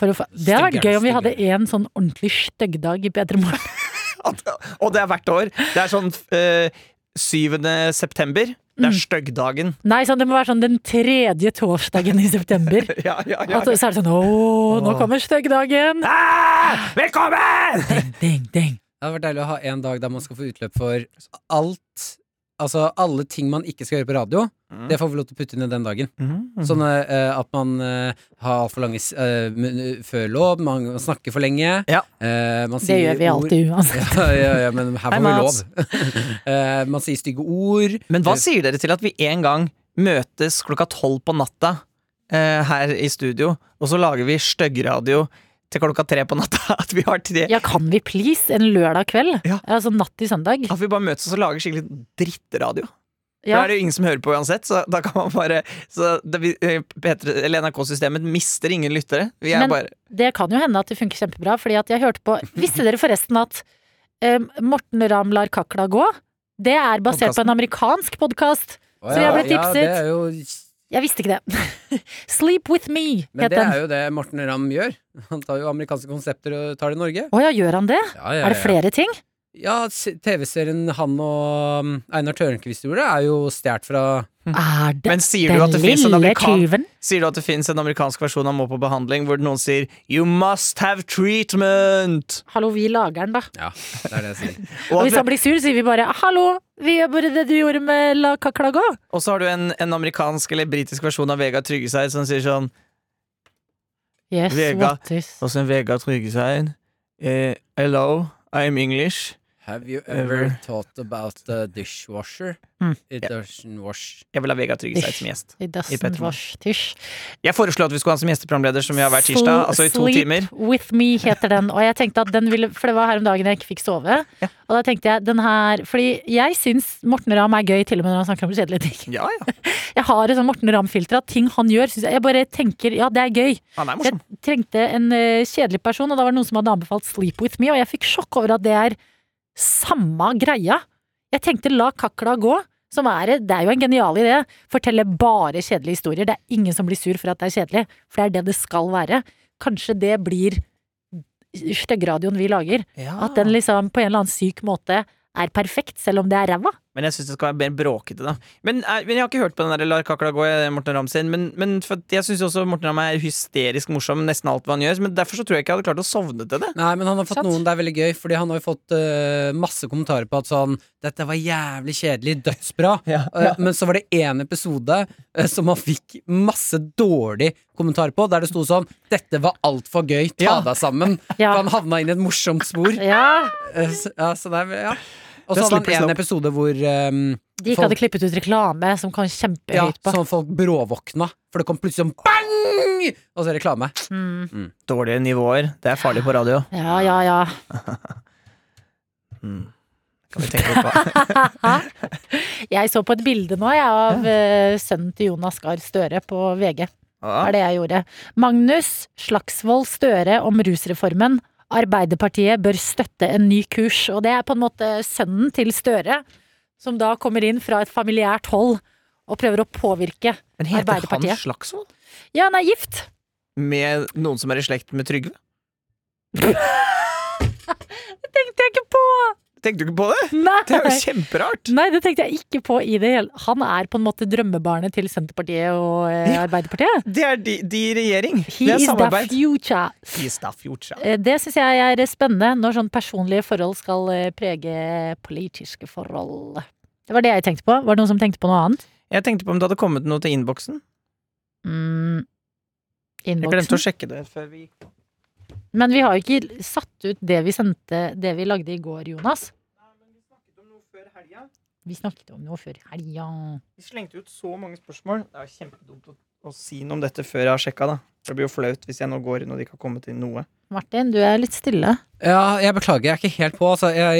For å få, det hadde vært
Styggere,
gøy om vi hadde
styggere.
en sånn ordentlig styggdag i P3 Morgen.
At- Og det er hvert år. Det er sånn eh, 7. september. Det
Mm.
er styggdagen.
Nei, sånn, det må være sånn den tredje torsdagen i september.
Ja, ja, ja.
At, så er det sånn Å, nå kommer styggdagen!
Ah, velkommen!
Ding, ding, ding.
Det hadde vært deilig å ha en dag der man skal få utløp for alt Altså alle ting man ikke skal gjøre på radio. Det får vi lov til å putte inn i den dagen.
Mm.
Sånn eh, at man eh, har altfor lange s- eh, mun- før lov, man snakker for lenge.
Ja.
eh, man
Det
sier
gjør vi
ord-
alltid uansett.
ja, ja, ja, men her
Hei,
får vi
Mats.
lov. Eh, man sier stygge ord.
Men hva sier dere til at vi en gang møtes klokka tolv på natta eh, her i studio, og så lager vi styggradio til klokka tre på natta? At vi har tre
Ja, kan vi please en lørdag kveld?
Ja.
Altså natt til søndag?
At vi bare møtes og så lager skikkelig drittradio. For Da
Ja.
er det jo ingen som hører på uansett, så da kan man bare Så det, vi- eh, P3 eller NRK-systemet mister ingen lyttere. Vi er
Men-
bare
Det kan jo hende at det funker kjempebra, fordi at jeg hørte på Visste dere forresten at eh, Morten Ramm lar kakla gå? Det er basert på en amerikansk podkast.
Å,
Så jeg ble tipset.
Ja, det er jo,
Jeg visste ikke det. Sleep With Me
men
het
det er
den.
jo det Morten Ramm gjør. Han tar jo amerikanske konsepter og tar det i Norge.
Å ja, gjør han det?
Ja, ja,
Er det
ja.
flere ting?
Ja, s- TV-serien han og um, Einar Tørnquist gjorde, er jo stjålet fra
Er det
Mm. Men sier du at
den
det fins en,
lille
amerikan
tyven?
sier du at det finnes en amerikansk versjon av Må på behandling hvor noen sier 'You must have treatment'?
Hallo, vi lager den, da.
Ja, det er det jeg sier.
Og
Og,
hvis
at,
han blir sur, sier vi bare 'hallo, vi gjør bare det du gjorde med la kakla gå'.
og så har du en, en amerikansk eller britisk versjon av Vegard Tryggeseid som sier sånn
Yes,
Vega.
what is
Og så en Vegard Tryggeseid eh, Hello, I'm English.
Have you ever
ever
thought about the dishwasher?
Mm.
It doesn't wash.
Jeg vil ha Vegard Tryggeseid som gjest.
It
Petter
doesn't
Morgen.
wash tish.
Jeg foreslo at vi skulle ha han som gjesteprogramleder, som vi har hver tirsdag. Altså i to
Sleep
timer.
With Me heter den, og jeg tenkte at den ville For det var her om dagen jeg ikke fikk sove. Og da tenkte jeg den her Fordi jeg syns Morten Ramm er gøy, til og med når han snakker om kjedelige ting.
Ja, ja.
Jeg har et sånn Morten Ramm-filter at ting han gjør, syns jeg Jeg bare tenker ja, det er gøy.
Han er
Så
morsom.
jeg trengte en eh, kjedelig person, og da var det noen som hadde anbefalt Sleep With Me, og jeg fikk sjokk over at det er samme greia. Jeg tenkte la kakla gå. Som er, det er jo en genial idé. Fortelle bare kjedelige historier. Det er ingen som blir sur for at det er kjedelig, for det er det det skal være. Kanskje det blir styggradioen vi lager.
Ja.
At
Ah.
den liksom på en eller annen syk måte er perfekt, selv om det er ræva.
Men jeg syns det skal være mer bråkete, da. Men, eh, men jeg har ikke hørt på den der Lar kakla gå, eh, Morten Ramm sin. Men, men for at jeg syns også Morten Ramm er hysterisk morsom, nesten alt hva han gjør. Men derfor så tror jeg ikke jeg hadde klart å sovne til det.
Nei, men han har fått
Sant.
noen det er veldig gøy, fordi han har jo fått eh, masse kommentarer på at sånn Dette var jævlig kjedelig, dødsbra. Eh, men så var det én episode eh, som han fikk masse dårlig kommentar på, der det sto sånn Dette var altfor gøy, ta
Ja.
deg sammen.
Ja.
For han havna inn i et morsomt spor.
Ja,
Eh, så- ja, så det er, ja. Og så
Det
hadde
slipper
han en
slow.
episode hvor ehm,
De ikke
Folk-
hadde klippet ut reklame som kom
ja,
kjempehøyt på.
sånn folk bråvåkna, for det kom plutselig sånn bang! Og så reklame.
Mm.
Dårlige nivåer. Det er farlig på radio.
Ja, ja, ja.
Kan vi tenke litt på.
Jeg så på et bilde nå jeg, av eh, sønnen til Jonas Gahr Støre på VG.
Ja.
er det jeg gjorde. Magnus Slagsvold Støre om rusreformen. Arbeiderpartiet bør støtte en ny kurs. Og det er på en måte sønnen til Støre, som da kommer inn fra et familiært hold og prøver å påvirke.
Men heter han
Arbeiderpartiet.
Slagsvold?
Ja, han er gift!
Med noen som er i slekt med Trygve?
Tenkte jeg ikke på!
Tenkte du ikke på det? Det er
Nei.
jo kjemperart!
Nei, det tenkte jeg ikke på i det hele Han er på en måte drømmebarnet til Senterpartiet og eh,
Ja.
Arbeiderpartiet.
Det er de, de i regjering. det
He
er
is the
samarbeid.
future.
Is the future.
Eh, Det syns jeg er spennende, når sånn personlige forhold skal eh, prege politiske forhold. Det var det jeg tenkte på. Var det noen som tenkte på noe annet?
Jeg tenkte på om det hadde kommet noe til innboksen.
Mm.
Jeg glemte å
Innboksen.
sjekke det før vi
Men vi har jo ikke satt ut det vi sendte, det vi lagde i går, Jonas. Vi snakket om noe før helga.
Vi slengte ut så mange spørsmål. Det er jo kjempedumt å, å si noe om dette før jeg har sjekka. da. Det blir jo flaut hvis jeg nå går inn og det ikke har kommet inn noe.
Martin, du er litt stille.
Ja, jeg beklager, jeg er ikke helt på. Altså, jeg
Har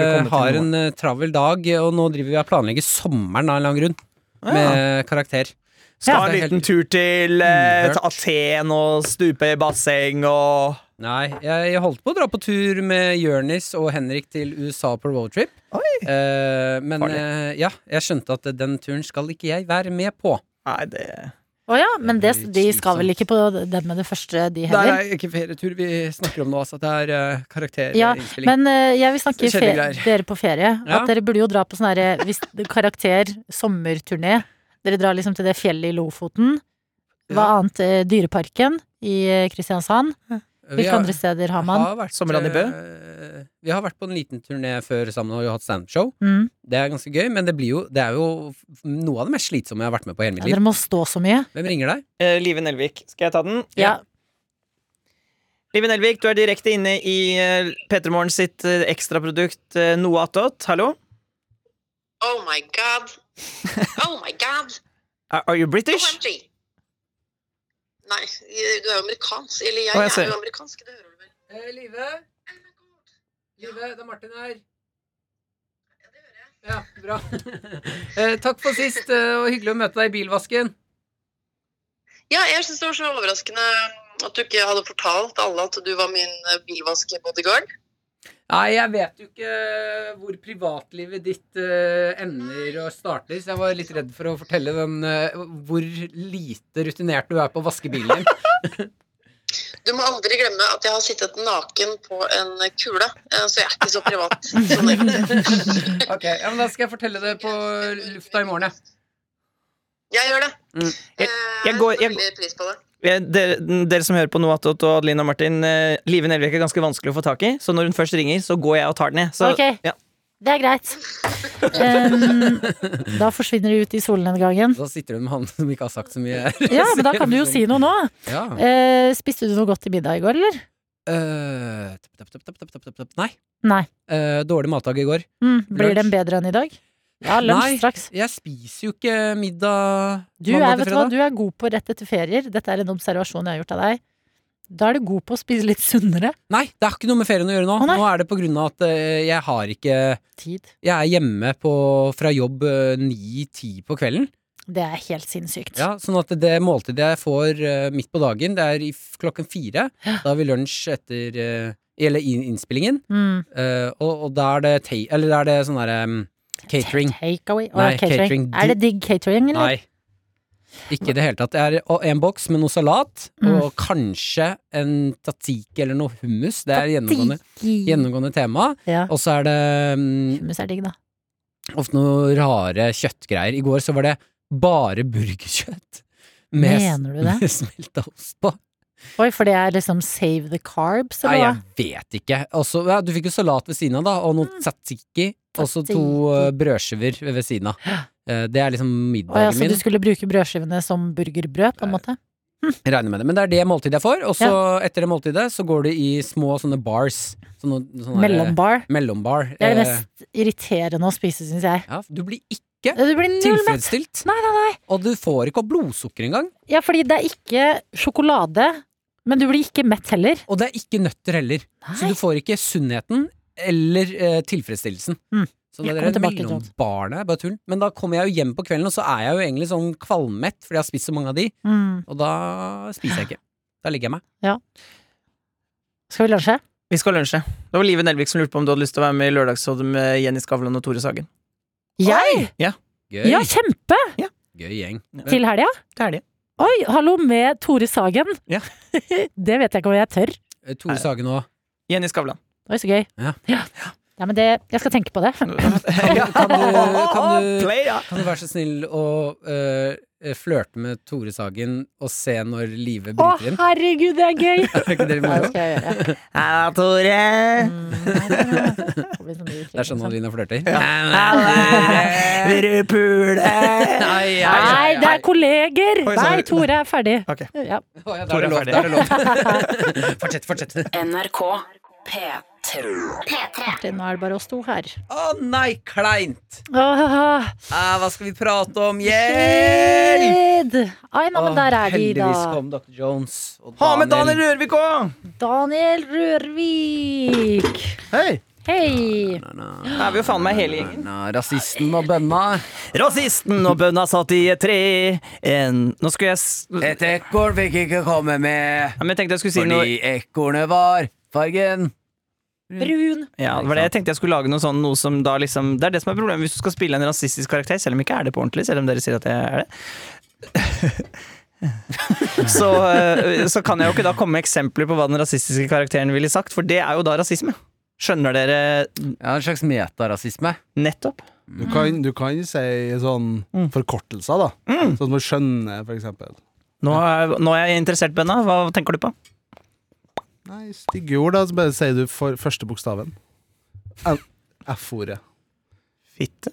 eh,
kommet til
har
noe.
en eh, travel dag, og nå driver vi og planlegger sommeren av en eller annen grunn.
Ja.
Med karakter.
Skal
Ja.
en liten tur til eh,
Uhørt.
til Aten og stupe i basseng og
Nei, jeg, jeg holdt på å dra på tur med Jørnis og Henrik til USA på roadtrip. Eh, men
Farlig.
eh, ja, jeg skjønte at den turen skal ikke jeg være med på.
Nei, det
Å ja, men det,
Det blir
de skal vel
slitsomt.
ikke på den med det første, de
Det
heller?
er ikke ferietur vi snakker om nå, altså. Det er eh,
Ja,
karakterinnspilling.
men eh, jeg vil snakke fe
Kjedelige greier.
dere på ferie.
Ja.
At dere burde jo dra på sånn herre hvis- karakter sommerturné. Dere drar liksom til det fjellet i Lofoten. Hva annet? eh, Dyreparken i eh, Kristiansand.
Vi
Hvilke
har-
andre steder har man?
vært,
Sommerland i Bø?
eh, vi har vært på en liten turné før sammen og vi har hatt standup-show.
Mm.
Det er ganske gøy, men det, blir jo, det er jo f- noe av det mest slitsomme jeg har vært med på i hele
Ja,
mitt liv.
dere må stå så mye.
Hvem ringer deg?
eh, Live Nelvik, skal jeg ta den?
Ja.
Live Nelvik, du er direkte inne i eh, P3 Morgen sitt eh, ekstraprodukt eh, Noe attåt. Hallo?
Oh my god. Oh my god.
Are are you British?
OMG. Nei, du er jo amerikansk. Eller jeg,
Å, jeg ser.
er jo amerikansk, det hører du vel.
Eh, Live.
Oh my god.
Live, det er Martin her.
Ja, det hører jeg.
Ja, bra. Eh, takk for sist, eh, og hyggelig å møte deg i bilvasken.
Ja, jeg syns det var så overraskende at du ikke hadde fortalt alle at du var min eh, bilvaskebodyguard.
Nei, jeg vet jo ikke eh, hvor privatlivet ditt eh, ender og starter, så jeg var litt redd for å fortelle den eh, hvor lite rutinert du er på å vaske bilen din.
Du må aldri glemme at jeg har sittet naken på en kule, eh, så jeg er ikke så privat. som det.
Ok, ja, men Da skal jeg fortelle det på lufta i morgen, jeg.
Jeg gjør det.
Mm.
Jeg-
Eh,
jeg går- jeg-
setter veldig pris på det.
Eh, Dere, dere som hører på Noe attåt og Adeline og Martin, eh, Live Nelvik er ganske vanskelig å få tak i, så når hun først ringer, så går jeg og tar den, jeg. Så
Ok.
ja.
Det er greit. Um, da forsvinner de ut i solnedgangen.
Da sitter du med han som ikke har sagt så mye.
Ja, men da kan du jo si noe nå.
Ja.
Eh, spiste du noe godt til middag i går, eller?
Eh, tup, tup, tup, tup, tup, tup, tup, tup. Nei.
Nei.
Eh, dårlig matdag i går.
Mm. Blir
Lunsj.
den bedre enn i dag? Ja,
Nei.
lunsj straks.
Jeg spiser jo ikke middag
Du er,
mandag
vet
til
du, hva,
fredag.
du er god på rett etter ferier. Dette er en observasjon jeg har gjort av deg. Da er du god på å spise litt sunnere.
Nei, det har ikke noe med ferien å gjøre nå.
Å, nei.
nå er det på grunn av at eh, jeg har ikke
Tid.
Jeg er hjemme på, fra jobb øh, ni-ti på kvelden.
Det er helt sinnssykt.
Ja, sånn at det måltidet jeg får eh, midt på dagen, det er i f klokken fire. Da har vi lunsj etter eh, Eller i innspillingen.
Mm.
Eh, og, og da er det ta Eller da er det sånn derre um, catering.
Takeaway. Å,
Nei,
ja, catering.
catering.
Er det digg catering, eller?
Nei. Ikke i det hele tatt. Det er å- en boks med noe salat,
Mm.
og kanskje en tatiki eller noe hummus. Det er gjennomgående,
Digg.
gjennomgående tema.
Ja.
Og så er det mm,
Hummus er digg, da.
ofte noe rare kjøttgreier. I går så var det bare burgerkjøtt.
Mener du det?
Med smelta ost på.
Oi, for det er liksom save the carbs,
Nei,
eller hva?
jeg vet ikke. Og så- ja, du fikk jo salat ved siden av, da, og
Mm.
noe tzatziki. Og så to eh, brødskiver ved siden av. Eh, Det er liksom
Å, ja,
middagen
så
min.
du skulle bruke brødskivene som burgerbrød, på en måte?
Jeg regner med det. Men det er det måltidet jeg får, og så etter det måltidet så går det i små sånne bars. Sånne, sånne
Mellombar.
der- Mellombar.
Det er det
Eh,
mest irriterende å spise, syns jeg.
Ja, du blir ikke
Du blir null mett.
tilfredsstilt,
Nei, nei, nei.
og du får ikke opp blodsukker engang.
Ja, fordi det er ikke sjokolade, men du blir ikke mett heller.
Og det er ikke nøtter heller. Så
Nei.
du får ikke sunnheten eller eh, tilfredsstillelsen.
Mm.
Så
Jeg
det
kommer
der
tilbake til
mellombarene er bare tull. Men da kommer jeg jo hjem på kvelden, og så er jeg jo egentlig sånn kvalmmett, fordi jeg har spist så mange av de,
Mm.
og da spiser jeg ikke. Da legger jeg meg.
Skal vi lunsje?
Vi skal lunsje. Det var Live Nelvik som lurte på om du hadde lyst til å være med i Lørdagsrådet med Jenny Skavlan og Tore Sagen.
Jeg?
Gøy,
Ja, kjempe!
gøy gjeng.
Til helga?
Det er de.
Oi, hallo med Tore Sagen.
Ja.
det vet jeg ikke om jeg tør.
Eh, Tore Sagen og
Jenny Skavlan.
Oi, så gøy.
Ja.
ja. Ja, men det, jeg skal tenke på det.
Ja.
Kan du, kan du,
Play, ja.
kan du være så snill å eh, flørte med Tore Sagen og se når Live
Å,
bryter inn?
herregud, det er gøy!
Er ikke det litt
Ja,
moro?
det skal jeg gjøre.
Halla, Tore!
Mm, nei, nei, nei. Det blir sånn
Det er sånn
sånn.
Adelina flørter?
Vil du pule?
Ai, ai,
Nei,
ai,
det
ai.
er kolleger!
Oi,
Nei,
sorry.
Tore er ferdig.
Ok.
Ja.
Å, ja, da er det
Tore er
lov.
ferdig.
Da er det lov. Fortsett, fortsett.
NRK P3.
Martin, nå er det bare oss to her.
Å nei, kleint!
Åh,
Ah, hva skal vi prate om? Hjelp!
Fred! Ai, nei,
Å,
men der er de, da.
Heldigvis kom Dr. Jones og
Ha med Daniel Rørvik òg!
Daniel Rørvik.
Hei.
Hei!
Da er vi jo faen meg hele gjengen.
Nei, Rasisten og bønna.
Rasisten og bønna satt i et tre en... Nå skulle jeg s... Nei,
Et ekorn fikk ikke komme med
Eh, men jeg tenkte jeg skulle si noe
fordi ekornet var fargen.
Brun.
Ja, det var det jeg tenkte jeg skulle lage noe sånn noe som da liksom Det er det som er problemet hvis du skal spille en rasistisk karakter, selv om jeg ikke er det på ordentlig, selv om dere sier at jeg er det. så, eh, så kan jeg jo ikke da komme med eksempler på hva den rasistiske karakteren ville sagt, for det er jo da rasisme. Skjønner dere
Ja, En slags metarasisme.
nettopp?
Du kan, du kan si sånn forkortelser, da. Sånn som å skjønne, for eksempel.
Nå er, nå er jeg interessert, Benna. Hva tenker du på?
Nei, stygge ord, da. Så bare sier du for første bokstaven. L- F-ordet,
Fitte?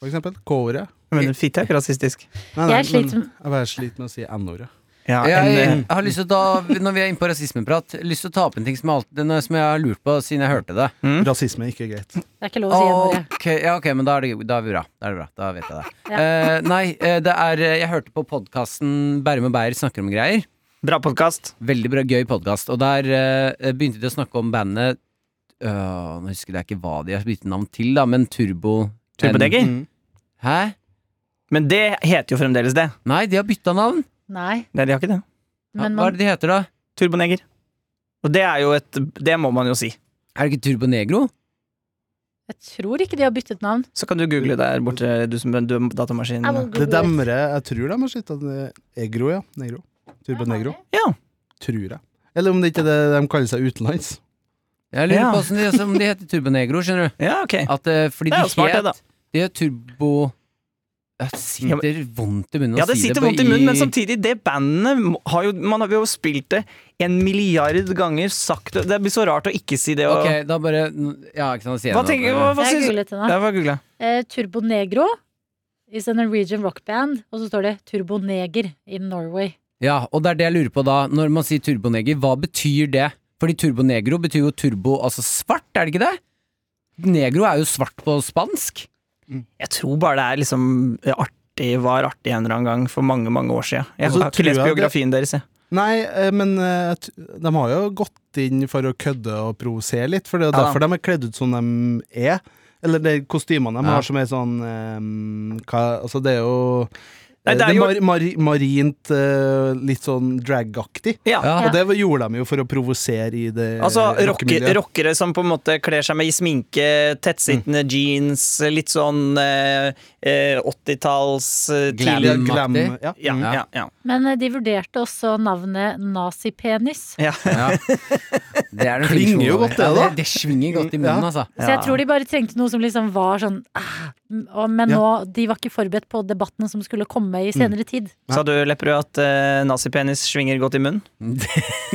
for eksempel. K-ordet.
Men fitte er ikke rasistisk.
Nei,
Jeg sliter
men jeg bare sliter med å si N-ordet.
Ja,
Jeg,
en, eh,
jeg har lyst til å ta, når vi er inne på rasismeprat, lyst til å ta opp en ting som jeg, alltid, som jeg har lurt på siden jeg hørte det.
Rasisme er ikke greit.
Det er ikke lov å si N-ordet.
Ok, ja, ok, men da er, det, da er vi bra. Da er det bra, da vet jeg det. Eh, nei, eh, det er eh, Jeg hørte på podkasten Bærum og Beyer snakker om greier.
eh, bra podkast.
Veldig bra, gøy podkast. Og der eh, begynte de å snakke om bandet øh, Nå husker jeg ikke hva de har byttet navn til, da, men Turbo
Turbodegger.
Hæ?
Men det heter jo fremdeles det.
Nei, de har bytta navn!
Nei,
Nei, de har ikke det.
Hva,
men
hva
man
er det de heter, da?
Turboneger. Og det er jo et Det må man jo si.
Er det ikke Turbo Negro?
Jeg tror ikke de har byttet navn.
Så kan du google der borte, du som du er datamaskin.
Jeg må
Det
google det.
demrer Jeg tror de har slutta Egro, ja. Negro. Turbo Negro.
Ja.
Tror jeg. Eller om det ikke er det de kaller seg utenlands.
Jeg lurer
Ja.
på hvordan de, om de heter Turbo Negro, skjønner du.
Ja, ok.
At, eh, fordi
Det er jo
de
smart, det,
het
da.
De het Turbo Det sitter vondt i munnen
Ja,
å
det
si det.
sitter
på
vondt i munnen, men
i-
samtidig, det bandet har jo Man har jo spilt det en milliard ganger, sagt det Det blir så rart å ikke si det. Og,
Ok, da bare Ja, ikke sant, si
Hva tenker hva, hva
Jeg
syns
googlet det nå.
Ja, hva googlet jeg?
Eh, Turbo Negro is a Norwegian rock band. Og så står det Turbo Neger in Norway.
Ja, og det er det jeg lurer på da. Når man sier turboneger, hva betyr det? Fordi turbonegro betyr jo turbo, altså svart, er det ikke det? Negro er jo svart på spansk.
Jeg tror bare det er liksom artig, var artig en eller annen gang for mange, mange år siden. Jeg
Og så
har ikke
tror
lest
jeg det-
biografien deres, jeg.
Nei, eh, men eh, t- de har jo gått inn for å kødde og provosere litt, for det er jo
Ja da.
derfor de er kledd ut som de er. Eller de kostymene de
Ja.
har som er sånn eh, hva, Altså, det er jo
Nei,
eh,
det er
det er
jo-
mar mar marint, eh, litt sånn dragaktig.
Ja.
Ja.
Og det gjorde de jo for å provosere i det
Altså rocker,
rockemiljøet.
rockere som på en måte kler seg med i sminke, tettsittende jeans, litt sånn eh, eh, 80-talls eh,
Glam.
tidlig
Glam,
Maktig.
ja.
ja,
Mm.
ja, ja.
Men eh, de vurderte også navnet nazipenis.
ja.
Ja. Det er den
Klinger
flinke
jo
over.
godt, det,
Ja,
da.
Det, det svinger godt i munnen,
Ja.
altså.
Så jeg tror de bare trengte noe som liksom var sånn ah, og, Men
Ja.
nå, de var ikke forberedt på debattene som skulle komme i senere tid.
Sa du, Lepperød, at eh, nazipenis svinger godt i munnen?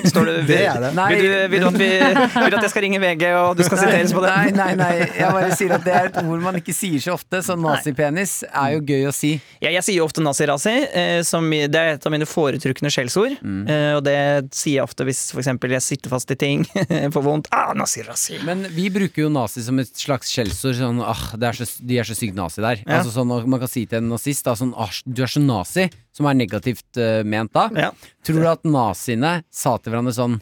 Står du,
Det er det.
Nei.
Vil, du, vil, du at vi, vil du at jeg skal ringe VG, og du skal siteres på det?
Nei, nei, nei. Jeg bare sier at det er et ord man ikke sier så ofte, så nazipenis er jo gøy å si.
Ja, jeg sier jo ofte nazi-razi. eh, som- Det er et av mine foretrukne skjellsord. eh, Og det sier jeg ofte hvis for eksempel jeg sitter fast i ting, får vondt. Ah, nazi-razi!
Men vi bruker jo nazi som et slags skjellsord. Sånn, ah, det er så, de er så sykt nazi der.
Ja.
Altså sånn, og Man kan si til en nazist da, sånn, ah, du er så nazi, som er negativt eh, ment da.
Ja.
Tror du at naziene sa til hverandre sånn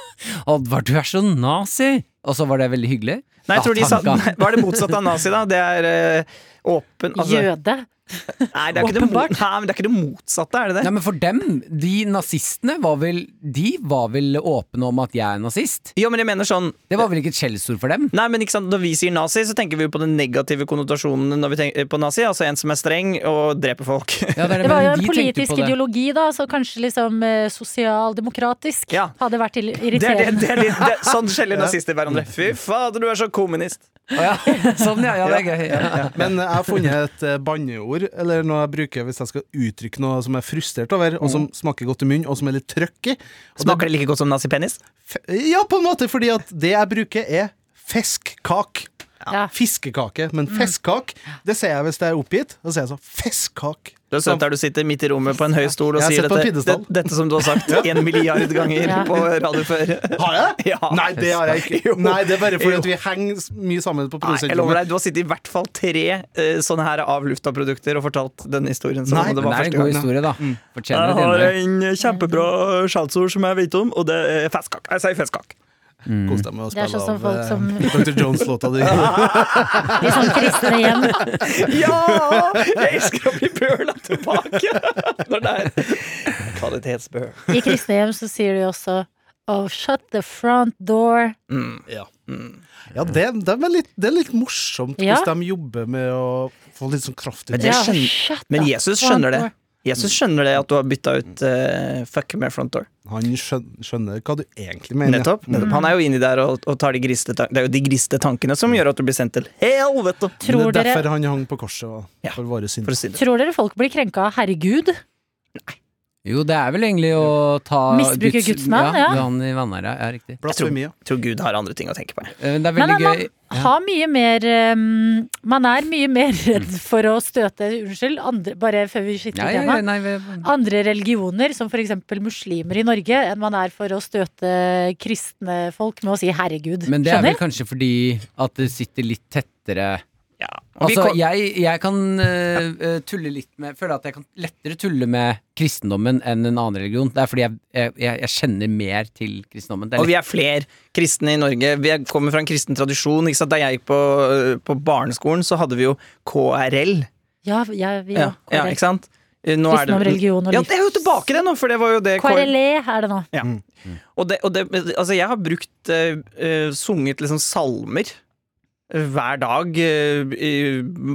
Oddvar, du er så nazi! Og så var det veldig hyggelig?
Nei, jeg tror de sa,
tanka.
nei, hva er det motsatte av nazi, da? Det er eh, åpen altså,
Jøde.
Nei, det er, ikke det, mot,
Åpenbart.
nei, men det er ikke det motsatte, er det det?
Nei, men for dem, de nazistene var vel De var vel åpne om at jeg er nazist?
Jo, men jeg mener sånn
Det var vel ikke et skjellsord for dem?
Nei, men ikke sant, Når vi sier nazi, så tenker vi jo på den negative konnotasjonen når vi tenker på nazi. Altså en som er streng og dreper folk.
Ja, er
Det
men
var jo en
de tenkte
politisk
på det.
ideologi, da, så kanskje liksom eh, sosialdemokratisk
Ja.
hadde vært irri-
Det er det,
irriterende.
det er det, det, sånn skjeller nazister hverandre. Fy fader, du er så kommunist.
Å ja. Sånn, ja. ja det er gøy. Ja.
Men jeg har funnet et eh, banneord, eller noe jeg bruker hvis jeg skal uttrykke noe som jeg er frustrert over, og som smaker godt i munnen, og som er litt trøkk i. Og det-
Mm. Smaker det like godt som nazipenis?
F- Ja, på en måte, fordi at det jeg bruker er feskkak.
Ja. Mm.
Fiskekake, men feskkak, det sier jeg hvis det er oppgitt. Da sier jeg sånn feskkak.
Du er søt der du sitter midt i rommet på en høy stol og
Jeg har
sier
sett på en
dette,
piedestall.
det- dette som du har sagt en milliard ganger
Ja.
på radio før.
Har jeg det?
Ja.
Nei, det har jeg ikke.
Jo.
Nei, det er bare fordi
Jo.
at vi henger s- mye sammen på
Nei, jeg lover
produsentrommet.
deg, Du har sittet i hvert fall tre eh, sånne her avlufta produkter og fortalt den historien. Som
Nei,
om
Men
det var
det er
første
en god
gang.
historie, da.
Jeg
Fortjener et
har
innlegg.
en kjempebra skjellsord som jeg vet om, og det er festkak. Jeg sier festkak.
Kos deg med å
Det er sånn
spille
som
av
folk
eh,
som-
Mm. Dr. Jones-låta di.
I sånn kristne hjem.
Ja! Jeg elsker å bli burna tilbake! Når det er kvalitetsbør.
I kristne hjem så sier de også Oh, shut the front door.
Mm,
Ja, ja det, det, er litt, det er litt morsomt
Ja.
hvordan de jobber med å få litt sånn kraft ut.
Men det
Ja,
skjønner-
shut
Men
the
Jesus
front
skjønner det.
door.
Jesus skjønner det at du har bytta ut eh, fuck med front door.
Han skjønner, skjønner hva du egentlig mener.
Nettopp. nettopp. Han er jo inni der og, og tar de griste tan- Det er jo de griste tankene som gjør at du blir sendt til helvete!
Det
Tror
er
dere,
derfor han hang på korset, og,
Ja,
for
For
våre synder.
å si det.
tror dere folk blir krenka av herregud?
Jo, det er vel egentlig å ta
Misbruke Guds navn, ja.
Han i vanære, ja, riktig.
Blasfemi, ja.
Jeg tror Gud har andre ting å tenke på. jeg.
Eh, men Det er
Men
veldig
man
gøy.
har mye mer ehm, Man er mye mer redd for å støte Unnskyld, andre, bare før vi skifter
Mm. Ja, ja, ja,
tema.
nei, vi-
Andre religioner, som f.eks. muslimer i Norge, enn man er for å støte kristne folk med å si 'herregud'.
men det er vel
Skjønner?
kanskje fordi at det sitter litt tettere
Ja. Og vi
Altså,
kom-
jeg, jeg kan eh, eh, tulle litt med Føler at jeg kan lettere tulle med kristendommen enn en annen religion. Det er fordi jeg, jeg, jeg jeg kjenner mer til kristendommen. Det
Og
er
vi
litt,
er flere kristne i Norge. Vi er- kommer fra en kristen tradisjon. Ikke sant? Da jeg gikk på, på barneskolen, så hadde vi jo KRL.
Ja, ja, vi
Ja, ja,
ja,
ikke sant? Eh, Nå er det-
Kristendom, religion og
Ja,
liv.
det er jo tilbake det nå, for det var jo det
KRLE E er det nå.
Ja.
Mm.
Og det, og det, altså jeg har brukt eh, eh, sunget liksom salmer hver dag eh, i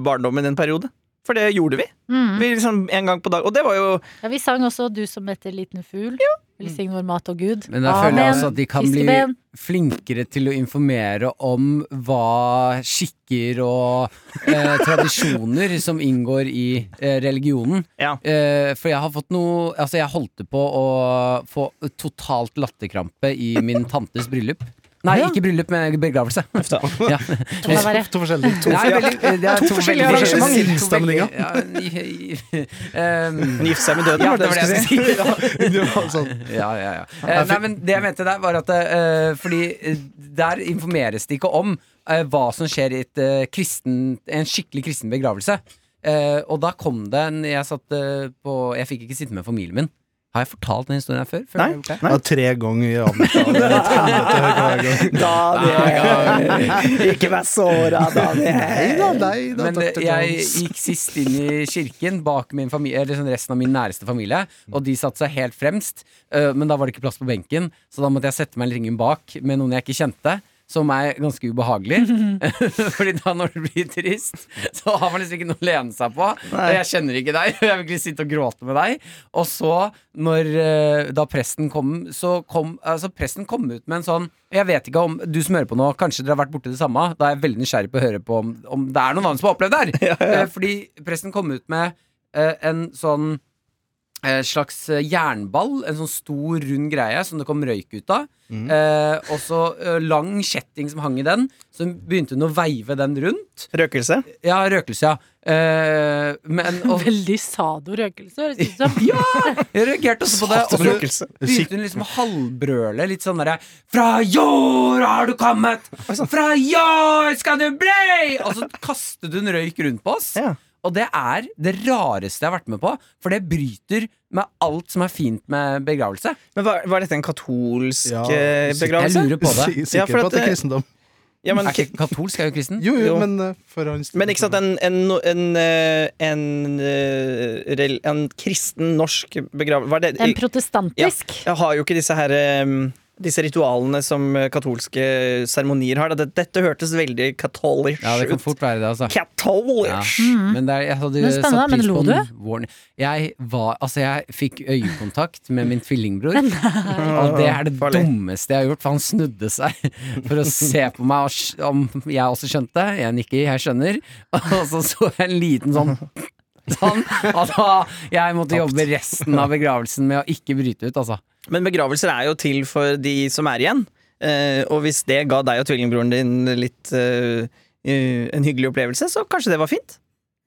barndommen en periode. For det gjorde vi.
Mm.
vi liksom en gang på dag. Og det var jo
Ja, vi sang også 'Du som etter liten fugl'. Velsign vår mat og Gud.
men da føler jeg også at de kan bli
Fiskeben.
flinkere til å informere om hva skikker og eh, tradisjoner som inngår i eh, religionen.
Ja.
Eh, for jeg har fått noe Altså, jeg holdt på å få totalt latterkrampe i min tantes bryllup. Nei,
Ja.
ikke bryllup, men begravelse. Ja.
Det må være-
To forskjellige.
Det er veldig, det er
To
veldig-
forskjellige
to
arrangementer.
veldig-
Sinnsstemninger.
Ja, i- i- um,
Men gifte seg med døden,
Ja,
var det
det
det
var
jeg
det
skulle si.
Det var sånn.
ja, ja, ja. Eh, nei, men det jeg mente der, var at eh, fordi eh, der informeres det ikke om eh, hva som skjer i et, eh, kristen, en skikkelig kristen begravelse. Eh, og da kom det en Jeg satt eh, på Jeg fikk ikke sitte med familien min. Har jeg fortalt den historien her før? Føler
Nei.
jeg gjort det?
Det var tre ganger i Amerika.
Daniel, ikke vær såra,
Nei
Daniel.
da, nei da,
Men det,
Dr.
jeg
Jones.
gikk sist inn i kirken bak min familie, eller sånn resten av min næreste familie, og de satte seg eh, helt fremst. øh, Men da var det ikke plass på benken, så da måtte jeg sette meg i ringen bak med noen jeg ikke kjente. som er ganske ubehagelig. Fordi da når du blir trist, så har man liksom ikke noe å lene seg på.
Nei.
Jeg kjenner ikke deg, og jeg vil ikke sitte og gråte med deg. Og så, når, eh, da presten kom, så kom altså presten kom ut med en sånn Jeg vet ikke om du som hører på nå, kanskje dere har vært borti det samme. Da er jeg veldig nysgjerrig på å høre på om, om det er noen andre som har opplevd det her. Eh, Fordi presten kom ut med eh, en sånn eh, slags eh, jernball, en sånn stor, rund greie som det kom røyk ut av. Eh, og så eh, lang kjetting som hang i den. Så begynte hun å veive den rundt.
Røkelse.
Ja, røkelse, ja. Eh, men, og,
Veldig sado-røkelse, høres det ut som.
jeg reagerte også på det. Og så
Røkelse.
begynte hun liksom å halvbrøle litt sånn derre Fra jord har du kommet! Fra jord skal du bli! Og så kastet hun røyk rundt på oss.
Ja.
Og det er det rareste jeg har vært med på, for det bryter med alt som er fint med begravelse.
Men var, var dette en katolsk
Ja.
eh,
Jeg
begravelse?
lurer på det.
Si- Sikker
Ja, for
på
at
at det
det-
er kristendom.
Ja, men,
Er ikke katolsk er jo kristen.
Jo, jo,
Jo.
men eh, for hans
men ikke sant, en, en, en, eh, en, eh, rel- en kristen norsk begravelse
En protestantisk.
Jeg har jo ikke disse her em, disse ritualene som eh, katolske seremonier har. da. Dette, dette hørtes veldig katolisk
Ja, det kan
ut.
fort være det, altså.
Katolisk!
Ja. Men det er, jeg hadde
Mm. Men spennende,
satt
men
pris
lo
på
du?
en warning. Jeg var Altså, jeg fikk øyekontakt med min tvillingbror, og det er det
Farlig.
dummeste jeg har gjort, for han snudde seg for å se på meg og sj- om jeg også skjønte. Jeg nikker, jeg skjønner. Og så så jeg en liten sånn Sånn at da- jeg måtte jobbe resten av begravelsen med å ikke bryte ut, altså.
Men begravelser er jo til for de som er igjen. Eh, og hvis det ga deg og tvillingbroren din litt eh, eh, en hyggelig opplevelse, så kanskje det var fint.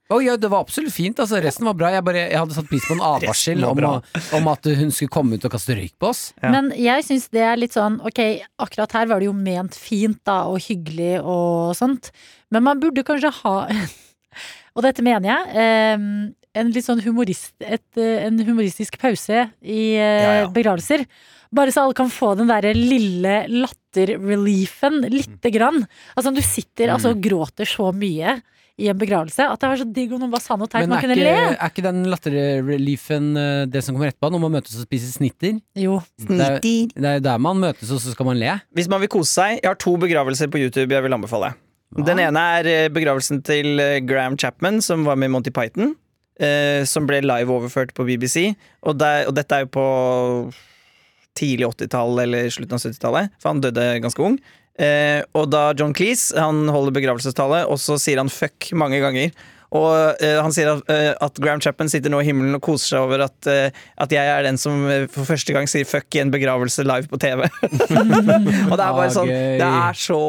Å ja, det var absolutt fint. Altså, resten var bra. Jeg, bare, jeg hadde satt pris på en
Resten
advarsel
var
om,
bra.
å- om at hun skulle komme ut og kaste røyk på oss.
Ja.
Men jeg syns det er litt sånn Ok, akkurat her var det jo ment fint da, og hyggelig og sånt, men man burde kanskje ha Og dette mener jeg. em, en litt sånn humorist, et, eh, en humoristisk pause i eh,
Ja, ja.
begravelser. Bare så alle kan få den derre lille latter-reliefen lite grann. Altså du sitter altså, og gråter så mye i en begravelse at det var så digg om noen bare sa noe teit.
Men
Man
er
kunne
ikke,
le.
er ikke den latterreliefen eh, det som kommer etterpå, når man møtes og spiser snitter?
Jo.
Det er, det er jo der man møtes, og så skal man le.
Hvis man vil kose seg Jeg har to begravelser på YouTube jeg vil anbefale. Den ene er eh, begravelsen til eh, Graham Chapman, som var med i Monty Python. eh, som ble live-overført på BBC. Og, der, og dette er jo på tidlig 80-tall eller slutten av 70-tallet, for han døde ganske ung. Eh, og da John Cleese han holder begravelsestale, og så sier han fuck mange ganger. Og eh, han sier at, eh, at Graham Chapman sitter nå i himmelen og koser seg over at, eh, at jeg er den som eh, for første gang sier fuck i en begravelse live på TV. og det er bare sånn
Ah, gøy.
Det er så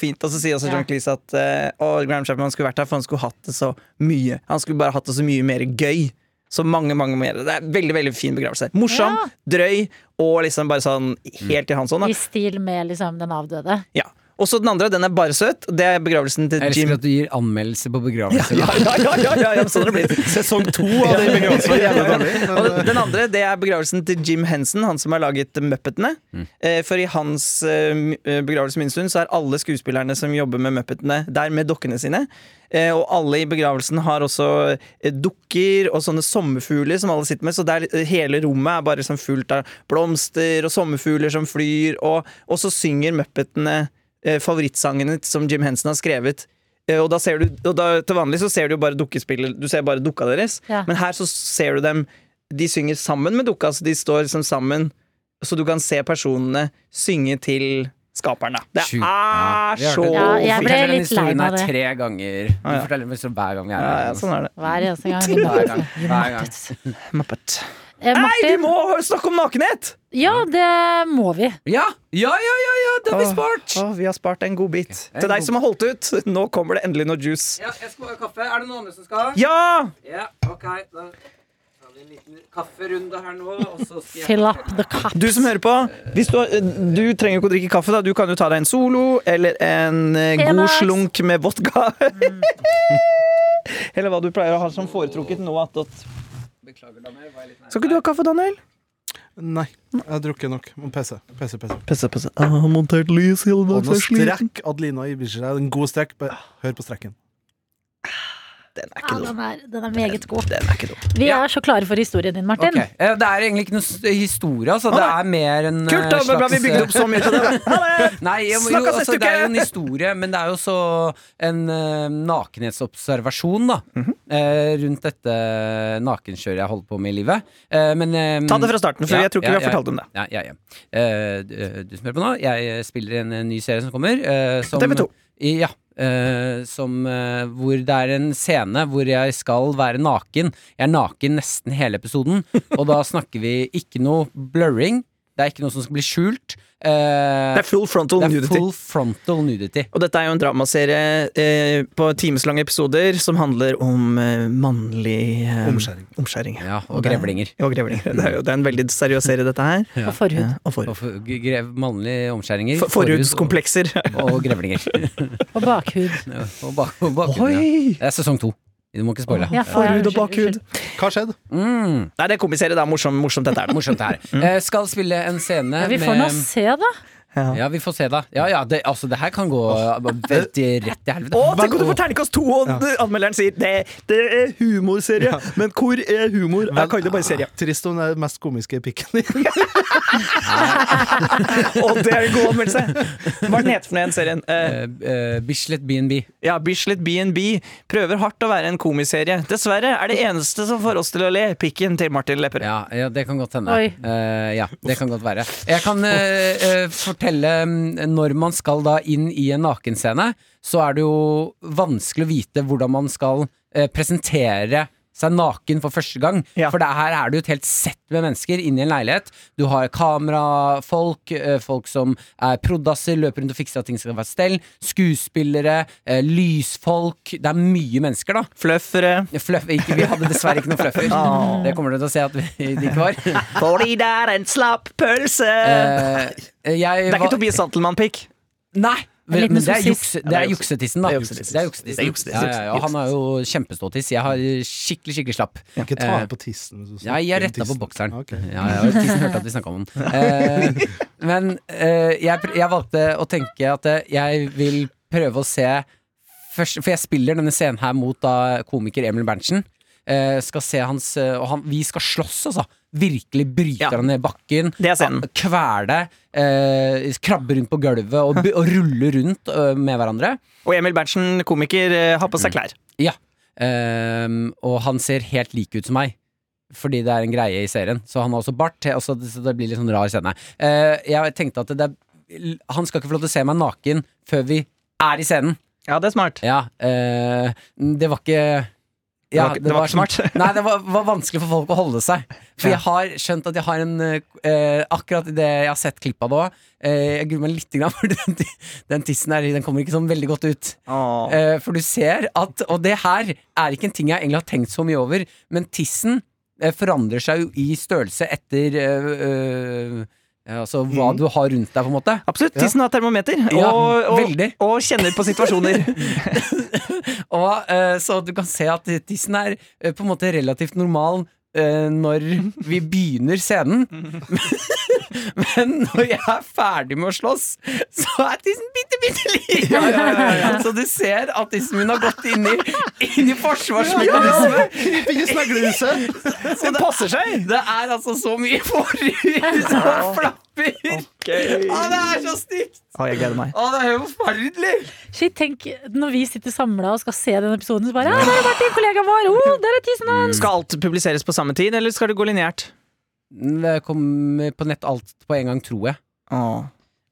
fint. Og så sier også
Ja.
John Cleese at eh, å, Graham Chapman skulle vært her, for han skulle hatt det så mye. Han skulle bare hatt det så mye mer gøy. Så mange, mange mer. Det er veldig veldig fin begravelse. Morsom,
Ja.
drøy og liksom bare sånn helt i hans hånd. da.
I stil med liksom den avdøde.
Ja. Og så den andre, den er bare søt. Det er begravelsen til
Jeg elsker
Jim.
at du gir anmeldelse på begravelser.
Ja, ja, ja, ja, ja, ja, sånn har det blitt.
Sesong to av det begravelsen var jævlig dårlig.
Og
Men, eh,
den andre det er begravelsen til Jim Henson, han som har laget Muppetene. Eh, For i hans eh, m- eh, begravelse min stund, så er alle skuespillerne som jobber med Muppetene, der med dokkene sine. Eh, Og alle i begravelsen har også eh, dukker og sånne sommerfugler som alle sitter med. Så det er, litt- hele rommet er bare sånn fullt av blomster og sommerfugler som flyr, og, og så synger Muppetene eh, favorittsangene som Jim Henson har skrevet. Eh, Og da ser du, og da, til vanlig så ser du jo bare dukkespillet Du ser bare dukka deres.
Ja.
Men her så ser du dem De synger sammen med dukka, så de står liksom sammen. Så du kan se personene synge til skaperen, da. Det
Sjukt.
er
vi hørte
så
det.
Ja,
Du
jeg ble
forteller den
litt lei
historien
meg
her
det.
Tre ganger. Du
ja.
forteller den liksom hver gang jeg er
ja,
her.
ja, sånn er det.
Hver eneste gang. You
Hver gang.
Muppets. You
Hver gang.
Muppets.
Muppet.
Eh,
Nei, vi
Martin,
må snakke om nakenhet!
ja det må vi.
Ja, ja, ja, ja, ja den blir
Åh,
spart!
Å, vi har spart en god bit.
en
Til deg
god-
som har holdt ut, nå kommer det endelig noe juice.
Ja, jeg skal ha kaffe. Er det noen andre som skal ha?
Ja!
Ja, ok. Da tar vi en liten kafferunde her nå, og så skal
Fill up the cup.
Du som hører på, hvis du, du trenger ikke å drikke kaffe. da Du kan jo ta deg en solo eller en eh,
Hey,
god
Max.
slunk med vodka. eller hva du pleier å ha som foretrukket nå attåt. Skal ikke du ha kaffe, Daniel?
Nei, jeg har drukket nok. Må pisse. Pisse, pisse.
Pisse, pisse. Jeg har montert lys hele
Og nå strekk Adelina Ibishi deg. En god strekk. Bare hør på strekken.
Den er
Ja,
ikke dum.
den, er, den er meget god.
Den er ikke dum.
Vi er så klare for historien din, Martin.
Ok, eh, Det er egentlig ikke noen s- historie, altså. Det er mer en
Kult, da!
eh,
Bra vi bygde opp så mye til det. da. Ha det!
Nei, jo, jo,
Snakkes
altså,
neste
det er jo
uke!
en historie, men det er jo så en eh, nakenhetsobservasjon, da.
Mhm.
eh, rundt dette nakenkjøret jeg holder på med i livet. Eh, men eh,
Ta det fra starten, for
ja,
jeg tror ikke
ja,
vi har
ja.
fortalt om det.
Ja, ja, ja. Eh, du, du som hører på nå, jeg spiller i en eh, ny serie som kommer. eh, som,
TV2.
I- Ja. eh, som, eh, hvor det er en scene hvor jeg skal være naken. Jeg er naken nesten hele episoden, og da snakker vi ikke noe blurring. Det er ikke noe som skal bli skjult. Eh,
Det er full frontal
det er
nudity.
full frontal nudity.
Og dette er jo en dramaserie eh, på timeslange episoder som handler om eh, mannlig eh,
Omskjæring.
omskjæring.
Ja, og,
Og det-
grevlinger.
Og grevlinger. Det er jo det er en veldig seriøs serie, dette her.
Ja.
Og forhud.
Eh, Og
Og
for,
for, grev, mannlige omskjæringer.
for, forhudskomplekser.
forhud Og, og grevlinger.
Og bakhud.
Ja, og bak, og bak, Det er sesong to. Du må ikke spoile.
Ja,
Forhud og
unnskyld,
bakhud.
unnskyld.
Hva skjedde?
Mm,
Nei, det er komiserie. Det er morsomt, morsomt dette er. det.
morsomt det her.
Mm.
Eh, skal spille en scene
Ja, vi får nå se, da.
Ja, vi får se, da. Ja ja, det, altså, det her kan gå veldig rett til helvete.
Å, tenk om du får terningkast to, og anmelderen sier det, det er humorserie. Men hvor er humor? Jeg kaller det bare serie.
Trist om det er den mest komiske pikken din.
Og det er en god anmeldelse! Hva er den het for noe igjen, serien? Eh,
Eh, eh, Bislett BNB.
ja, Bislett B&B prøver hardt å være en komiserie. Dessverre er det eneste som får oss til å le, pikken til Martin Lepperød.
Ja, ja, det kan godt hende.
Oi.
Eh, ja, det kan godt være. Jeg kan eh, eh, fortelle mm, Når man skal da inn i en nakenscene, så er det jo vanskelig å vite hvordan man skal eh, presentere seg naken for første gang.
Ja.
For det her er det jo et helt sett med mennesker inne i en leilighet. Du har kamerafolk, eh, folk som er proddasser, løper rundt og fikser at ting skal være stell, skuespillere, eh, lysfolk. Det er mye mennesker, da.
Fløffere.
Fluff, ikke, vi hadde dessverre ikke noen fluffer.
Åh.
Det kommer du til å se at vi det ikke var.
Fordi det er en slapp pølse!
Eh, jeg
det er
var-
ikke Tobias Santelmann-pikk.
Nei!
En
Men
liten
det er,
sossis.
jukse, det er
Ja, det er
juksetissen, da.
Det er juksetissen.
Det er juksetissen.
Det er juksetissen.
Ja, ja, ja. Han har jo kjempeståtiss. Jeg har skikkelig, skikkelig slapp.
Ikke ta på tissen. hvis du
Ja, jeg
snakker om
retta på
tissen.
bokseren.
Ok.
Ja, ja, tissen hørte at vi snakka om den. Eh, men eh, jeg, pr- jeg valgte å tenke at eh, jeg vil prøve å se først, For jeg spiller denne scenen her mot da komiker Emil Berntsen. Eh, skal se hans eh, Og han, vi skal slåss, altså. Virkelig bryter
Ja.
han ned bakken.
Det er scenen.
Kvele. Eh, krabbe rundt på gulvet og, bu- og rulle rundt eh, med hverandre.
Og Emil Berntsen, komiker, eh, har på
Mm.
seg klær.
Ja. Ehm, og han ser helt lik ut som meg. Fordi det er en greie i serien. Så han har også bart. he- Altså, det- så det blir litt sånn rar scene. Eh, jeg tenkte at det er han skal ikke få lov til å se meg naken før vi er i scenen.
Ja, det er smart.
Ja, eh, det var ikke ja,
Det var ikke- det var ikke smart.
Nei, det var, var vanskelig for folk å holde seg. For jeg har skjønt at jeg har en eh, eh, Akkurat i det jeg har sett klippet av det òg, jeg gruer meg litt, grann, for den, den tissen her Den kommer ikke sånn veldig godt ut.
Åh.
Eh, for du ser at Og det her er ikke en ting jeg egentlig har tenkt så mye over, men tissen eh, forandrer seg jo i størrelse etter eh, eh, Altså hva du har rundt deg, på en måte.
Absolutt. Tissen har termometer,
Ja,
og, og,
veldig.
og kjenner på situasjoner.
Og eh, Så du kan se at tissen er eh, på en måte relativt normal eh, når vi begynner scenen. Men når jeg er ferdig med å slåss, så er tissen bitte, bitte liten! Så du ser at tissen min har gått inn i, inn i forsvarsmekanisme.
Ikke sneglehuset!
Den passer seg!
Det er altså så mye forhud som flapper! Å, det er så stygt!
Å, jeg gleder meg.
Å, det er jo forferdelig!
Shit, tenk når vi sitter samla og skal se den episoden, så bare Ja, der er Martin, kollegaen vår! Oh, der er tissen
Mm.
hans!
Skal alt publiseres på samme tid, eller skal det gå lineært?
Det kommer på nett alt på en gang, tror jeg.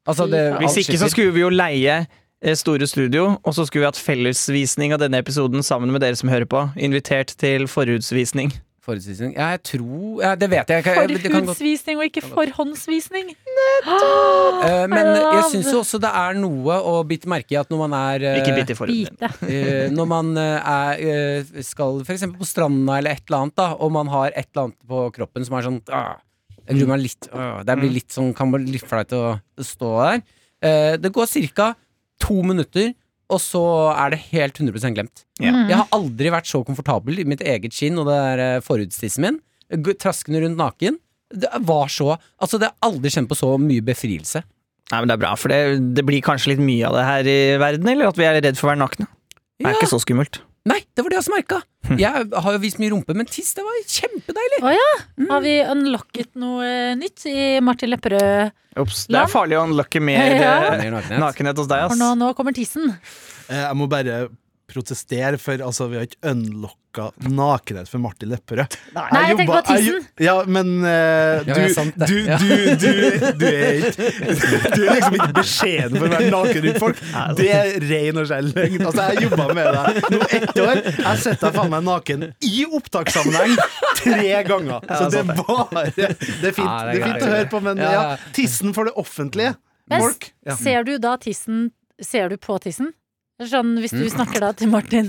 Altså, det,
Hvis
alt
ikke så
sitter.
skulle vi jo leie eh, Store Studio, og så skulle vi hatt fellesvisning av denne episoden sammen med dere som hører på. Invitert til forhudsvisning.
Forutsetning Ja, jeg tror ja, Det vet jeg. jeg, jeg det kan godt,
Forhudsvisning og ikke forhåndsvisning.
Eh, men
Eller
jeg
av-
syns jo også det er noe å bite merke i at når man er eh,
Ikke bitt i forhuden.
Bite.
Eh, når man eh, er, eh, skal f.eks. på stranda eller et eller annet, da, og man har et eller annet på kroppen som er sånn ah, Jeg gruer meg litt. ah, det blir litt sånn, kan bli litt flaut å stå der. Eh, det går ca. to minutter, og så er det helt 100 glemt.
Ja.
Jeg har aldri vært så komfortabel i mitt eget skinn og det er eh, forhudstissen min. G- Traskende rundt naken. Det var så Altså, det har jeg aldri kjent på så mye befrielse.
Nei, men Det er bra, for det, det blir kanskje litt mye av det her i verden, eller at vi er redd for å være nakne. Det er
Ja.
ikke så skummelt.
Nei, det var det jeg også merka! Jeg har jo vist mye rumpe, men tiss, det var kjempedeilig! Mm.
Har vi unlocket noe eh, nytt i Martin Lepperød?
Ops, det er farlig å unlocke mer
Ja.
eh, nakenhet hos deg,
For nå,
ass.
nå kommer tissen.
Eh, Jeg må bare protestere, for altså, vi har ikke unlocka nakenhet for Martin Lepperød.
Nei, jeg tenkte
jobba-
på
jeg
tissen.
jo- Ja, men eh,
Ja,
du,
det er sant, det.
du,
Ja.
du, du, du, er ikke, du er liksom ikke beskjeden for å være naken rundt folk. Det er ren og skjær løgn. Altså, jeg jobba med deg nå ett år. Jeg setter deg faen meg naken i opptakssammenheng tre ganger. Så det er bare Det er fint,
Ja, det
det
er
er fint
greit.
å høre på, men
Ja,
ja,
ja.
tissen for det offentlige.
Men
Folk. Ja.
Ser du da tissen Ser du på tissen? Sånn, hvis
Mm.
du snakker da til Martin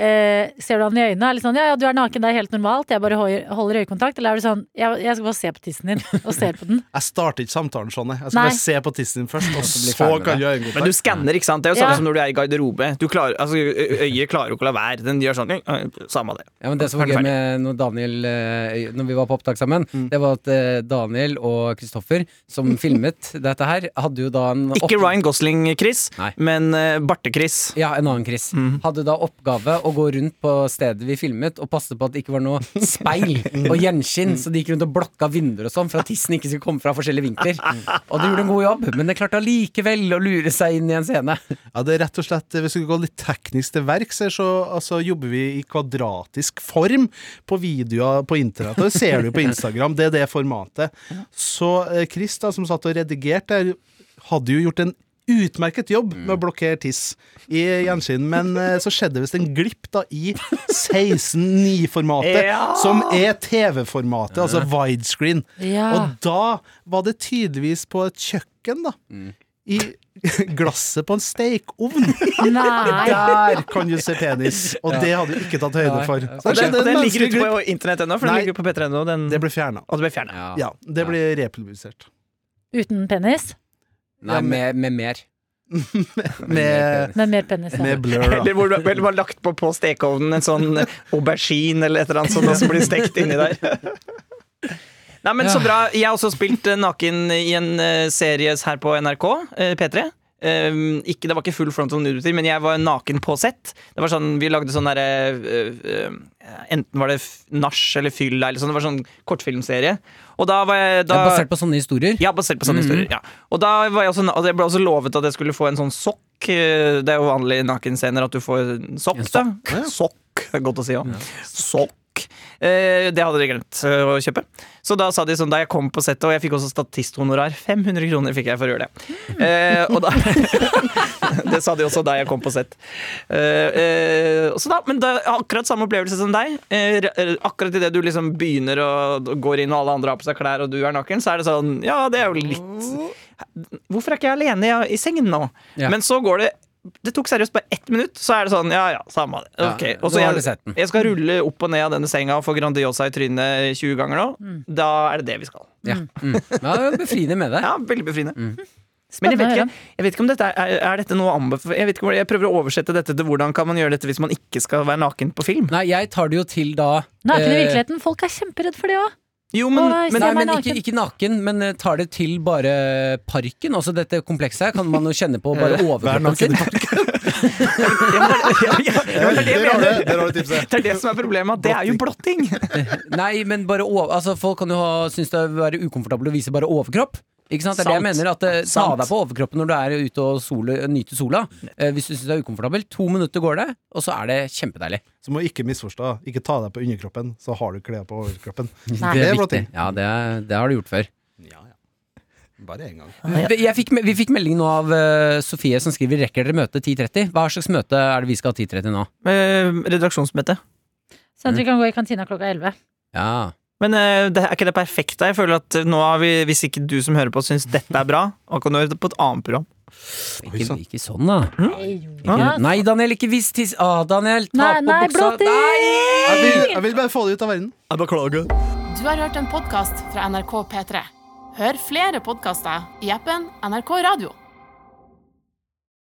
eh, ser du han i øynene? Er litt sånn, ja, ja, du er naken, det er helt normalt. Jeg bare hoi- holder øyekontakt. Eller er du sånn, jeg, jeg skal bare se på tissen din, og ser på den.
Jeg starter ikke samtalen sånn. Jeg Jeg skal
Nei.
bare se på tissen din først, og
bli
så
ferdig med
kan
det.
du gjøre en god
Men du skanner, ikke sant? Det er jo samme
Ja.
som når du er i garderobe. Du klarer, altså, ø- øyet klarer jo ikke å la være. Den gjør sånn. ø, ø, Samme det.
Ja, men det som var gøy
Ferdig, ferdig.
med
Mm.
når Daniel eh, Når vi var på opptak sammen, det var at eh, Daniel og Kristoffer, som filmet dette her, hadde jo da en
Ikke
opp-
Ryan Gosling-Chris,
Nei.
men eh, Barte-Chris.
Ja, en annen Chris.
Mm.
Hadde da oppgave å gå rundt på stedet vi filmet og passe på at det ikke var noe speil
Mm.
og gjenskinn, så de gikk rundt og blokka vinduer og sånn for at tissen ikke skulle komme fra forskjellige vinkler.
Mm.
Og de gjorde en god jobb, men det klarte allikevel å lure seg inn i en scene.
Ja, det er rett og slett, Hvis vi skal gå litt teknisk til verks, her, så altså, jobber vi i kvadratisk form på videoer på internett. Og det ser du på Instagram. Det er det formatet. Så eh, Chris, da, som satt og redigerte der, hadde jo gjort en utmerket jobb med å
Mm.
blokkere tiss i gjenskinn, men eh, så skjedde visst en glipp da i 16.9-formatet,
Ja!
som er TV-formatet, altså widescreen.
Ah.
Ja.
Og da var det tydeligvis på et kjøkken, da. I glasset på en stekeovn.
Nei.
Der kan du se penis! Og det hadde du ikke tatt høyde for. Så
Og Den,
det skjedde en
den ligger
menneskelig
ikke
glipp.
på internett ennå, for
Nei.
den ligger jo på p3.no. Den,
Det ble fjerna.
og det ble fjernet.
Ja.
Ah. Ja, det ble republisert.
Uten penis,
Nei, med, med mer.
Med,
men mer penis. Ja.
med blur, da.
Eller hvor det var lagt på på stekeovnen en sånn aubergine eller et eller annet sånt som blir stekt inni der. Nei, men så bra. Jeg har også spilt eh, naken i en eh, serie her på NRK, eh, P3. Eh, ikke, det var ikke full frontal nudity, men jeg var naken på sett. Det var sånn, Vi lagde sånn derre eh, eh, Enten var det f- nach eller fylla eller sånn. Det var sånn kortfilmserie. Og da var jeg
Det
da,
er basert på sånne historier. Mm.
ja, basert på sånne historier. Ja. Og da var jeg også, og jeg ble også lovet at jeg skulle få en sånn sokk. Eh, Det er jo vanlig i nakenscener at du får en sokk.
En
da. Sokk, det er godt å si òg. Sokk. Eh, det hadde de glemt eh, å kjøpe. Så da sa de sånn da jeg kom på settet, og jeg fikk også statisthonorar. 500 kroner fikk jeg for å gjøre det. Eh, og da Det sa de også da jeg kom på sett. Eh, eh, så da, men da, akkurat samme opplevelse som deg. Eh, re- eh, akkurat idet du liksom begynner og og går inn, og alle andre har på seg klær, og du er naken, så er det sånn Ja, det er jo litt Hvorfor er ikke jeg alene i- i sengen nå?
Ja.
Men så går det det tok seriøst bare ett minutt, så er det sånn Ja, ja, samme det.
Ja,
Ok,
nå
og så
har
jeg-
du sett den.
jeg skal rulle opp og ned av denne senga og få Grandiosa i trynet 20 ganger nå. Da er det det vi skal.
Ja. Mm. ja det er Befriende med det.
Ja, Veldig befriende. Men jeg
Spennende
vet,
å høre.
ikke, jeg vet ikke om dette er, er dette noe å anbefale jeg, vet ikke, hvordan- jeg prøver å oversette dette til hvordan kan man gjøre dette hvis man ikke skal være naken på film.
Nei, jeg tar det jo til da
Naken i
eh,
virkeligheten. Folk er kjemperedd for det òg.
Jo, men,
Å, nei,
men
se
Nei,
meg
men
naken.
ikke, ikke naken, men eh, tar det til bare parken. Også dette komplekset her kan man jo kjenne på bare overkroppen sin.
ja, men- ja, ja, ja, men det er det jeg
Der har
mener.
du- der har du tipset.
Det er det som er problemet. at Det er jo blotting.
Nei, men bare over, altså, folk kan jo ha, synes det er være ukomfortabelt å vise bare overkropp. Ikke sant? Det er det jeg
Sant.
mener. At, eh, ta
Sant.
deg på overkroppen når du er ute og sole, nyter sola. Eh, hvis du syns det er ukomfortabelt. To minutter går det, og så er det kjempedeilig.
Så må du ikke misforstå. Ikke ta deg på underkroppen, så har du klær på overkroppen.
Nei.
Det er
viktig.
blotting.
Ja, det, er- det har du gjort før.
Bare én gang.
Vi- Jeg fikk, me- vi fikk melding nå av eh, Sofie som skriver 'Rekker dere møte 10.30?' Hva slags møte er det vi skal ha 10.30 nå?
Eh, redaksjonsmøte.
Sånn
Mm.
at vi kan gå i kantina klokka elleve.
Ja.
Men eh, det, er ikke det perfekt? da? Jeg føler at eh, nå har vi, Hvis ikke du som hører på, syns dette er bra, da kan du høre det på et annet program.
Ikke,
sant.
ikke sånn, da.
Ah,
Ikke,
Ja.
nei, Daniel, ikke vis tiss. Ah, Daniel, ta
Nei,
på
nei,
buksa.
blotting!
Jeg vil, jeg vil bare få det ut av verden.
Jeg beklager.
Du har hørt en podkast fra NRK P3. Hør flere podkaster i appen NRK Radio.